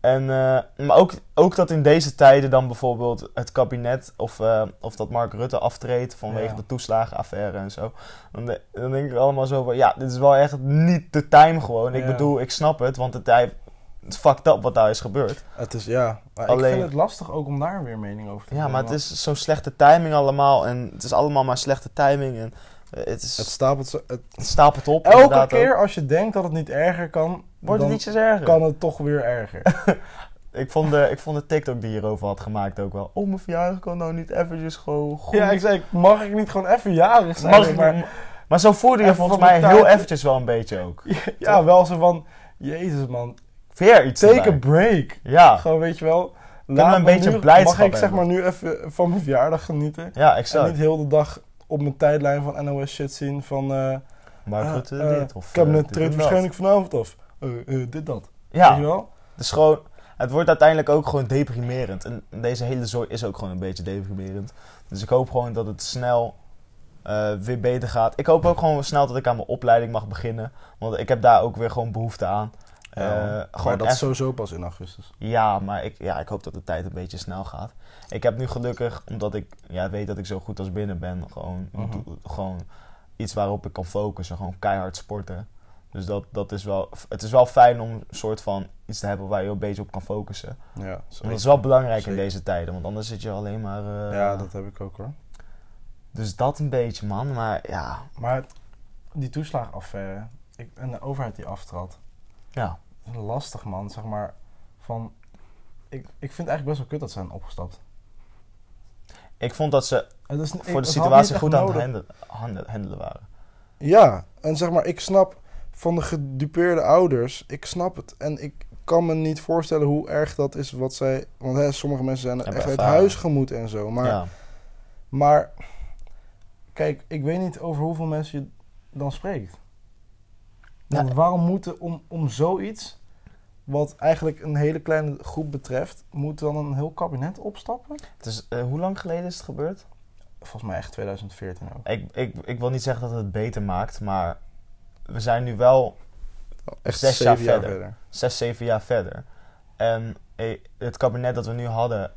Speaker 2: En, eh, maar ook, ook dat in deze tijden dan bijvoorbeeld het kabinet of, eh, of dat Mark Rutte aftreedt vanwege
Speaker 1: Ja.
Speaker 2: de toeslagenaffaire en zo. Dan, de- dan denk ik allemaal zo van, ja, dit is wel echt niet de time gewoon. Ik
Speaker 1: Ja.
Speaker 2: bedoel, ik snap het, want het, hij, het is fucked up wat daar is gebeurd.
Speaker 1: Het is, ja. Maar Ik
Speaker 2: Alleen-
Speaker 1: vind het lastig ook om daar weer mening over te
Speaker 2: Ja,
Speaker 1: hebben,
Speaker 2: maar het
Speaker 1: want
Speaker 2: is zo'n slechte timing allemaal en het is allemaal maar slechte timing en eh, het, is,
Speaker 1: Het
Speaker 2: het,
Speaker 1: stapelt zo... het-
Speaker 2: stapelt op.
Speaker 1: Elke
Speaker 2: inderdaad
Speaker 1: keer
Speaker 2: ook.
Speaker 1: als je denkt dat het niet erger kan,
Speaker 2: wordt
Speaker 1: dan
Speaker 2: het ietsjes erger.
Speaker 1: kan het toch weer erger.
Speaker 2: Ik vond, de, ik vond de TikTok die hierover had gemaakt ook wel. Oh, mijn verjaardag kan nou niet eventjes gewoon goed.
Speaker 1: ja, ik zei, mag ik niet gewoon even jarig zijn?
Speaker 2: Mag ik
Speaker 1: maar,
Speaker 2: maar, maar zo voelde je
Speaker 1: Even
Speaker 2: volgens
Speaker 1: van
Speaker 2: mij
Speaker 1: elkaar-
Speaker 2: heel eventjes wel een beetje ook.
Speaker 1: ja, wel zo van, jezus man,
Speaker 2: Weer iets
Speaker 1: take
Speaker 2: erbij.
Speaker 1: a break.
Speaker 2: Ja,
Speaker 1: Gewoon, weet je wel.
Speaker 2: me
Speaker 1: laat
Speaker 2: een
Speaker 1: me
Speaker 2: beetje
Speaker 1: nu-
Speaker 2: blijdschap
Speaker 1: Mag ik zeg
Speaker 2: hebben.
Speaker 1: maar nu even van mijn verjaardag genieten?
Speaker 2: ja
Speaker 1: En
Speaker 2: exact.
Speaker 1: niet heel de dag op mijn tijdlijn van NOS shit zien van... eh
Speaker 2: Maar
Speaker 1: ah,
Speaker 2: goed, eh,
Speaker 1: eh,
Speaker 2: dit of... eh,
Speaker 1: kabinet
Speaker 2: dit
Speaker 1: treedt
Speaker 2: en dat.
Speaker 1: waarschijnlijk vanavond af. Eh, eh, dit dat. Weet je
Speaker 2: Ja,
Speaker 1: wel?
Speaker 2: dus gewoon... Het wordt uiteindelijk ook gewoon deprimerend. En deze hele zooi is ook gewoon een beetje deprimerend. Dus ik hoop gewoon dat het snel eh, weer beter gaat. Ik hoop ook gewoon snel dat ik aan mijn opleiding mag beginnen. Want ik heb daar ook weer gewoon behoefte aan. Eh,
Speaker 1: Ja, maar
Speaker 2: gewoon
Speaker 1: dat
Speaker 2: echt-
Speaker 1: is sowieso pas in augustus.
Speaker 2: ja, maar ik, ja, ik hoop dat de tijd een beetje snel gaat. Ik heb nu gelukkig, omdat ik ja, weet dat ik zo goed als binnen ben, gewoon,
Speaker 1: Mhm.
Speaker 2: do- gewoon iets waarop ik kan focussen. Gewoon keihard sporten. Dus dat, dat is wel, het is wel fijn om een soort van iets te hebben waar je een beetje op kan focussen.
Speaker 1: Ja,
Speaker 2: Want
Speaker 1: sorry.
Speaker 2: dat is wel belangrijk in
Speaker 1: Zeker.
Speaker 2: deze tijden, want anders zit je alleen maar... eh,
Speaker 1: ja, dat heb ik ook hoor.
Speaker 2: Dus dat een beetje, man. Maar ja,
Speaker 1: Maar het- die toeslagenaffaire ik, en de overheid die aftrad,
Speaker 2: ja.
Speaker 1: is lastig man, zeg maar. Van, ik, ik vind het eigenlijk best wel kut dat ze zijn opgestapt.
Speaker 2: ik vond dat ze
Speaker 1: Het is, ik-
Speaker 2: voor de
Speaker 1: het had niet
Speaker 2: situatie
Speaker 1: echt
Speaker 2: goed aan het
Speaker 1: nodig.
Speaker 2: handelen, handelen- handelen waren.
Speaker 1: Ja, en zeg maar, ik snap van de gedupeerde ouders, ik snap het. En ik kan me niet voorstellen hoe erg dat is wat zij... Want hè, sommige mensen zijn
Speaker 2: Hebben
Speaker 1: echt uit
Speaker 2: ervaren.
Speaker 1: huis gemoet en zo. Maar,
Speaker 2: ja.
Speaker 1: maar kijk, ik weet niet over hoeveel mensen je dan spreekt. Want waarom moeten om, om zoiets, wat eigenlijk een hele kleine groep betreft... moet dan een heel kabinet opstappen?
Speaker 2: Het is, eh, hoe lang geleden is het gebeurd?
Speaker 1: Volgens mij echt 2014 ook.
Speaker 2: Ik, ik, ik wil niet zeggen dat het beter maakt, maar we zijn nu wel
Speaker 1: Echt
Speaker 2: Zes
Speaker 1: zeven
Speaker 2: jaar verder. zes, zeven jaar verder. En eh, het kabinet dat we nu hadden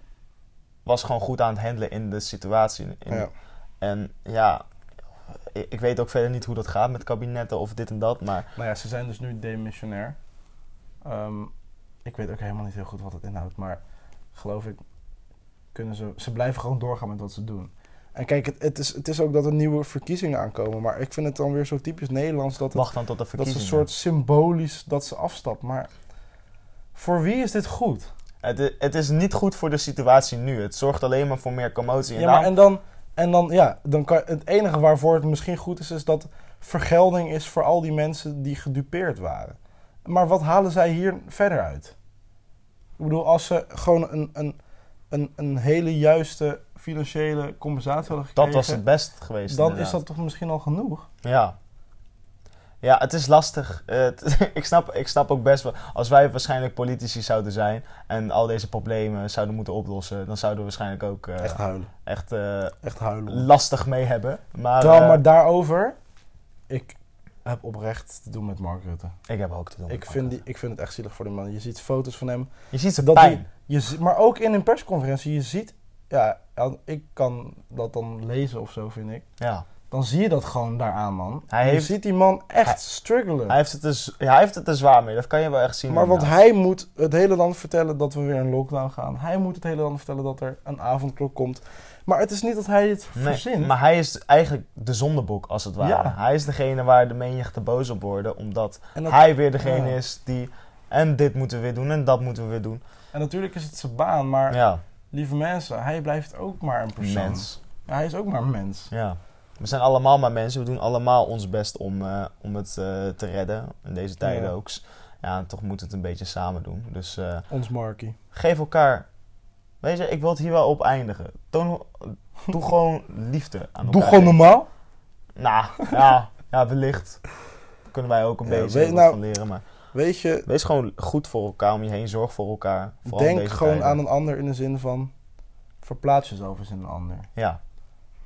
Speaker 2: was gewoon goed aan het handelen in de situatie. In-
Speaker 1: Ja.
Speaker 2: En ja, ik, ik weet ook verder niet hoe dat gaat met kabinetten of dit en dat, maar
Speaker 1: Nou ja, ze zijn dus nu demissionair. Ehm, ik weet ook helemaal niet heel goed wat het inhoudt, maar geloof ik kunnen ze... Ze blijven gewoon doorgaan met wat ze doen. En kijk, het, het, is, het is ook dat er nieuwe verkiezingen aankomen, maar ik vind het dan weer zo typisch Nederlands dat het,
Speaker 2: wacht dan tot de
Speaker 1: dat ze een
Speaker 2: verkiezingen.
Speaker 1: soort symbolisch dat ze afstapt. Maar voor wie is dit goed?
Speaker 2: het, i- het is niet goed voor de situatie nu. Het zorgt alleen maar voor meer commotie. En
Speaker 1: Ja, maar
Speaker 2: daarom-
Speaker 1: en dan, en dan, ja, dan kan, het enige waarvoor het misschien goed is, is dat vergelding is voor al die mensen die gedupeerd waren. Maar wat halen zij hier verder uit? Ik bedoel, als ze gewoon een, een, een, een hele juiste financiële compensatie hadden gekregen,
Speaker 2: dat was het best geweest.
Speaker 1: dan is
Speaker 2: inderdaad.
Speaker 1: dat toch misschien al genoeg?
Speaker 2: Ja. Ja, het is lastig. Eh, het- ik, snap, ik snap ook best wel. Als wij waarschijnlijk politici zouden zijn en al deze problemen zouden moeten oplossen, dan zouden we waarschijnlijk ook eh, echt,
Speaker 1: huilen.
Speaker 2: eh,
Speaker 1: Echt huilen.
Speaker 2: lastig mee hebben. Maar,
Speaker 1: Terwijl,
Speaker 2: eh,
Speaker 1: maar daarover, ik heb oprecht te doen met Mark Rutte.
Speaker 2: ik heb ook te doen.
Speaker 1: Ik vind, die, ik vind het echt zielig voor die man. Je ziet foto's van hem
Speaker 2: Je ziet ze
Speaker 1: dat
Speaker 2: pijn.
Speaker 1: die- Je, zi- maar ook in een persconferentie, je ziet, ja, al- ik kan dat dan lezen of zo, vind ik.
Speaker 2: Ja.
Speaker 1: Dan zie je dat gewoon daaraan, man.
Speaker 2: Hij
Speaker 1: je
Speaker 2: heeft-
Speaker 1: ziet die man echt
Speaker 2: hij-
Speaker 1: struggelen.
Speaker 2: Hij, heeft het dus, ja, hij heeft het er zwaar mee. Dat kan je wel echt zien.
Speaker 1: maar want
Speaker 2: inderdaad.
Speaker 1: hij moet het hele land vertellen dat we weer in lockdown gaan. Hij moet het hele land vertellen dat er een avondklok komt. Maar het is niet dat hij dit
Speaker 2: Nee,
Speaker 1: verzint.
Speaker 2: maar hij is eigenlijk de zondebok, als het ware.
Speaker 1: Ja.
Speaker 2: Hij is degene waar de menigte boos op worden, omdat
Speaker 1: en, dat-
Speaker 2: hij weer degene
Speaker 1: Ja.
Speaker 2: is die... En dit moeten we weer doen, en dat moeten we weer doen.
Speaker 1: en natuurlijk is het zijn baan, maar
Speaker 2: Ja,
Speaker 1: lieve mensen, hij blijft ook maar een persoon.
Speaker 2: mens.
Speaker 1: Ja, hij is ook maar een mens.
Speaker 2: Ja. We zijn allemaal maar mensen. We doen allemaal ons best om, eh, om het eh, te redden. In deze tijden
Speaker 1: Ja.
Speaker 2: ook. Ja, en toch moeten we het een beetje samen doen. Dus eh,
Speaker 1: Ons Markie.
Speaker 2: geef elkaar... Weet je, ik wil het hier wel op eindigen. Toon, doe gewoon liefde aan
Speaker 1: Doe
Speaker 2: elkaar.
Speaker 1: gewoon normaal.
Speaker 2: Nou, ja, ja, wellicht. Daar kunnen wij ook een
Speaker 1: Ja,
Speaker 2: beetje
Speaker 1: weet-
Speaker 2: wat
Speaker 1: nou-
Speaker 2: van leren. Maar
Speaker 1: Weet je,
Speaker 2: wees gewoon goed voor elkaar om je heen. Zorg voor elkaar. Vooral in
Speaker 1: Denk
Speaker 2: deze
Speaker 1: gewoon
Speaker 2: tijden.
Speaker 1: aan een ander in de zin van verplaats jezelf eens in een ander.
Speaker 2: Ja,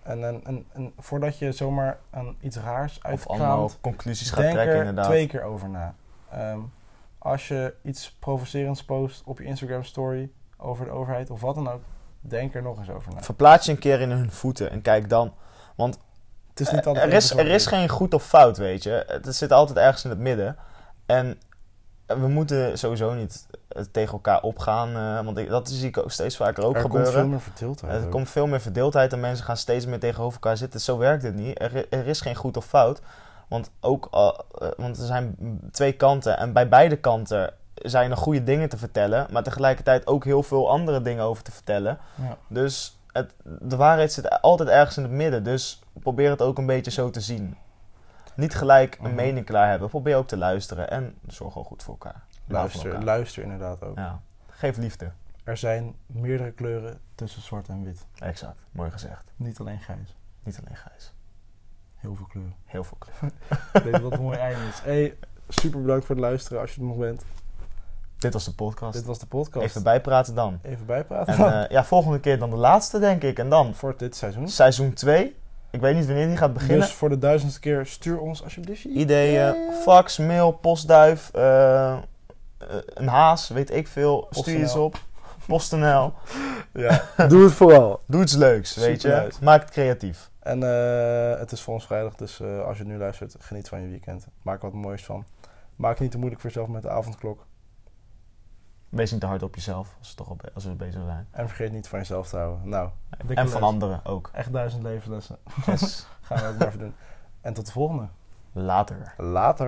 Speaker 1: En, en, en, en voordat je zomaar aan iets raars
Speaker 2: of allemaal
Speaker 1: uitkraamt,
Speaker 2: conclusies gaat
Speaker 1: denk
Speaker 2: trekken
Speaker 1: er
Speaker 2: inderdaad.
Speaker 1: twee keer over na. Ehm, als je iets provocerends post op je Instagram story over de overheid of wat dan ook, denk er nog eens over na.
Speaker 2: Verplaats je een keer in hun voeten en kijk dan
Speaker 1: Het is niet
Speaker 2: Eh,
Speaker 1: altijd
Speaker 2: er,
Speaker 1: even
Speaker 2: is, er
Speaker 1: zwart-wit.
Speaker 2: is geen goed of fout, weet je. Het zit altijd ergens in het midden. En eh, we moeten sowieso niet eh, tegen elkaar opgaan. eh, want ik, dat zie ik ook steeds vaker ook
Speaker 1: er komt veel
Speaker 2: gebeuren.
Speaker 1: meer verdeeldheid.
Speaker 2: Eh, Er
Speaker 1: ook.
Speaker 2: komt veel meer verdeeldheid en mensen gaan steeds meer tegenover elkaar zitten. Zo werkt het niet. Er, er is geen goed of fout. Want, ook, al- eh, want er zijn twee kanten. En bij beide kanten zijn er goede dingen te vertellen. Maar tegelijkertijd ook heel veel andere dingen over te vertellen.
Speaker 1: Ja.
Speaker 2: Dus het, de waarheid zit altijd ergens in het midden. Dus probeer het ook een beetje zo te zien. Niet gelijk een
Speaker 1: Mhm.
Speaker 2: mening klaar hebben. Probeer ook te luisteren. En zorg gewoon goed voor elkaar. Hou van
Speaker 1: Luister,
Speaker 2: elkaar.
Speaker 1: luister inderdaad ook.
Speaker 2: Ja. Geef liefde.
Speaker 1: Er zijn meerdere kleuren tussen zwart en wit.
Speaker 2: Exact. Mooi gezegd.
Speaker 1: Niet alleen grijs.
Speaker 2: Niet alleen Gijs.
Speaker 1: Heel veel kleuren.
Speaker 2: Heel veel kleur.
Speaker 1: Ik denk dat het een mooi einde is. Hey, super bedankt voor het luisteren als je er nog bent.
Speaker 2: Dit was de podcast.
Speaker 1: Dit was de podcast.
Speaker 2: Even bijpraten dan.
Speaker 1: Even bijpraten.
Speaker 2: En eh, ja, volgende keer dan de laatste, denk ik. En dan
Speaker 1: voor dit seizoen.
Speaker 2: seizoen 2. Ik weet niet wanneer die gaat beginnen.
Speaker 1: Dus voor de duizendste keer stuur ons alsjeblieft je
Speaker 2: Ideeën, fax, mail, postduif, eh, eh, een haas, weet ik veel. Stuur
Speaker 1: PostNL.
Speaker 2: iets op. PostNL.
Speaker 1: Ja.
Speaker 4: Doe het vooral.
Speaker 2: Doe iets leuks, weet je.
Speaker 1: Superleuk.
Speaker 2: Maak het creatief.
Speaker 1: En eh, het is voor ons vrijdag, dus eh, als je nu luistert, geniet van je weekend. Maak er wat moois van. Maak het niet te moeilijk voor jezelf met de avondklok.
Speaker 2: Wees niet te hard op jezelf, als we, toch al be- als we bezig zijn.
Speaker 1: En vergeet niet van jezelf te houden. Nou, dikke
Speaker 2: En van
Speaker 1: les.
Speaker 2: anderen ook.
Speaker 1: Echt duizend levenslessen.
Speaker 2: Yes.
Speaker 1: Gaan we ook maar even doen. En tot de volgende.
Speaker 2: Later.
Speaker 1: Later.